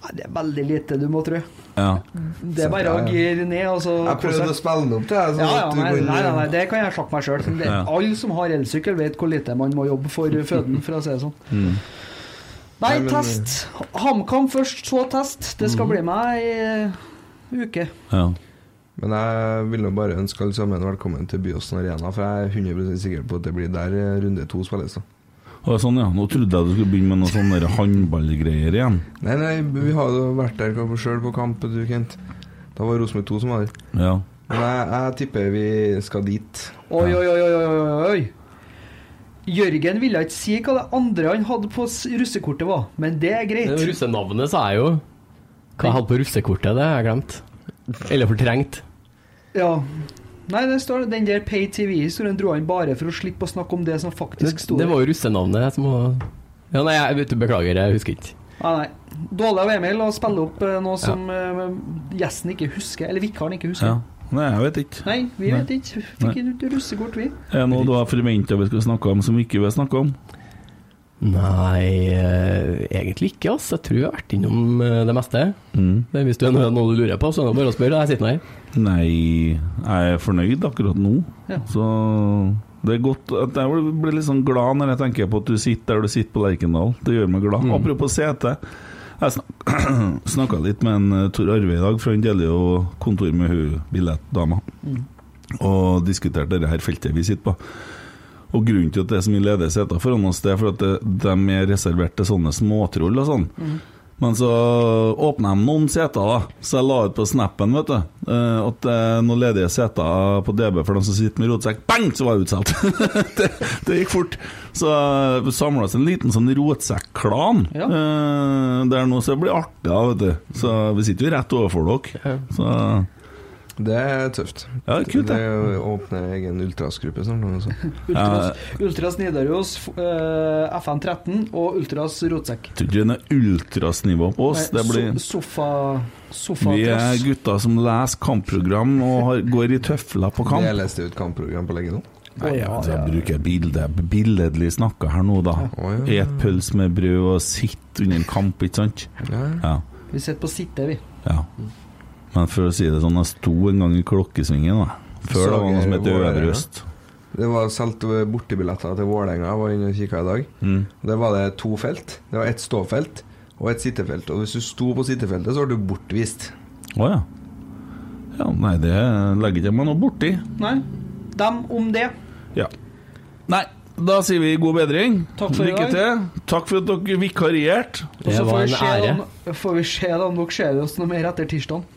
Nei, det er veldig lite du må trø.
Ja.
Det er bare å gire ned, og så
Jeg prøvde å spille den opp til deg, sånn
Ja, ja,
at du
nei,
kunne-
nei, nei, nei, det kan jeg sjakke meg sjøl.
Ja.
Alle som har elsykkel, vet hvor lite man må jobbe for føden, for å si det sånn.
Mm.
Nei,
Nei, men-
test. HamKam først, så test. Det skal bli meg ei uke.
Men jeg vil nå bare ønske alle sammen velkommen til Byåsen Arena, for jeg er 100 sikker på at det blir der eh, runde to spilles. da
Og sånn, ja. Nå trodde jeg du skulle begynne med noen sånne der håndballgreier igjen.
Nei, nei, vi har jo vært der sjøl på kamp, du Kent. Da var Rosenborg 2 som var der.
Ja.
Men jeg, jeg tipper vi skal dit.
Oi, oi, oi, oi, oi, oi, oi. Jørgen ville ikke si hva det andre han hadde på s- russekortet var, men det er greit.
Det russenavnet sa jeg jo. Hva jeg hadde på russekortet, det har jeg glemt. Eller fortrengt.
Ja. Nei, det står den der PayTV-historien dro han bare for å slippe å snakke om det som
Det,
faktisk sto
det
der.
var jo russenavnet som var Ja, nei, jeg vet du, beklager, jeg husker ikke.
Nei, nei. Dårlig av Emil å spille opp eh, noe som eh, gjesten ikke husker, eller vikaren ikke husker.
ja. Nei, jeg vet ikke.
Nei, vi
Nei.
vet ikke.
Nei.
Fikk ikke russekort, vi.
Er det noe du har forventa vi skulle snakke om som vi ikke vil snakke om?
Nei, eh, egentlig ikke, ass. Jeg tror jeg har vært innom eh, det meste.
Mm.
Men hvis du er noe noe du lurer på, så er det bare å spørre. Jeg sitter nå her.
Nei, jeg er fornøyd akkurat nå.
Ja.
Så det er godt at Jeg blir litt sånn glad når jeg tenker på at du sitter der du sitter på Lerkendal. Det gjør meg glad. Apropos sete. Jeg snak [CLEARS THROAT] snakka litt med en eh, Tor Arve i dag, for han deler jo kontor med hun billettdama. Og diskuterte det her feltet vi sitter på. Og grunnen til at det er så mye ledige seter foran oss, det er for at det, de er reservert til sånne småtroll og sånn. Men så åpna de noen seter, da. Så jeg la ut på snappen vet du, eh, at det er noen ledige seter på DB for de som sitter med rotsekk. Bang, så var jeg utsolgt! [LAUGHS] det, det gikk fort. Så vi samla oss en liten sånn rotsekk-klan eh, der nå, så det blir artig, da, vet du. Så vi sitter jo rett overfor dere. Så
Det er tøft.
Ja, det er kult,
det.
det.
er å åpne egen ultrasgruppe snart. nå, altså.
Ultras, Ultras Nidaros, f- eh, FN13 og Ultras Rotsekk.
Tror ikke det er noe ultrasnivå på oss.
Nei,
Det blir
so- sofa... sofa
Vi er gutter som leser kampprogram og har, går i tøfler på kamp.
Jeg leste ut kampprogram på leggen nå.
Nei, ja, altså, jeg bruker bilde, billedlig snakka her nå, da. Et pølse med brød og sitt under en kamp, ikke sant? Ja.
Vi sitter på sitte, vi.
ja. Men for å si det sånn, jeg sto en gang i klokkesvingen, da. Før det var noe som het
Vålerenga.
Øvre Øst.
Det var solgt bortebilletter til Vålerenga. Jeg var inne og kikka i dag.
Mm.
Det var det to felt. Det var ett ståfelt og ett sittefelt. Og hvis du sto på sittefeltet, så var du bortvist.
Å ja. ja. Nei, det legger ikke jeg meg noe borti.
Nei, dem om det.
Ja. Nei, da sier vi god bedring.
Takk for i
Lykke
dag.
til. Takk for at dere vikarierte.
Og så får vi, se om, får vi se da om dere ser oss noe mer etter tirsdag.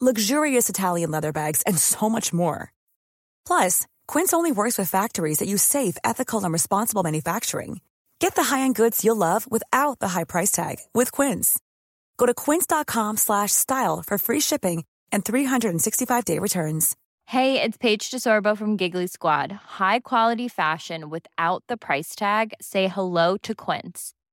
luxurious Italian leather bags, and so much more. Plus, Quince only works with factories that use safe, ethical, and responsible manufacturing. Get the high-end goods you'll love without the high price tag with Quince. Go to quince.com slash style for free shipping and 365-day returns.
Hey, it's Paige DeSorbo from Giggly Squad. High quality fashion without the price tag. Say hello to Quince.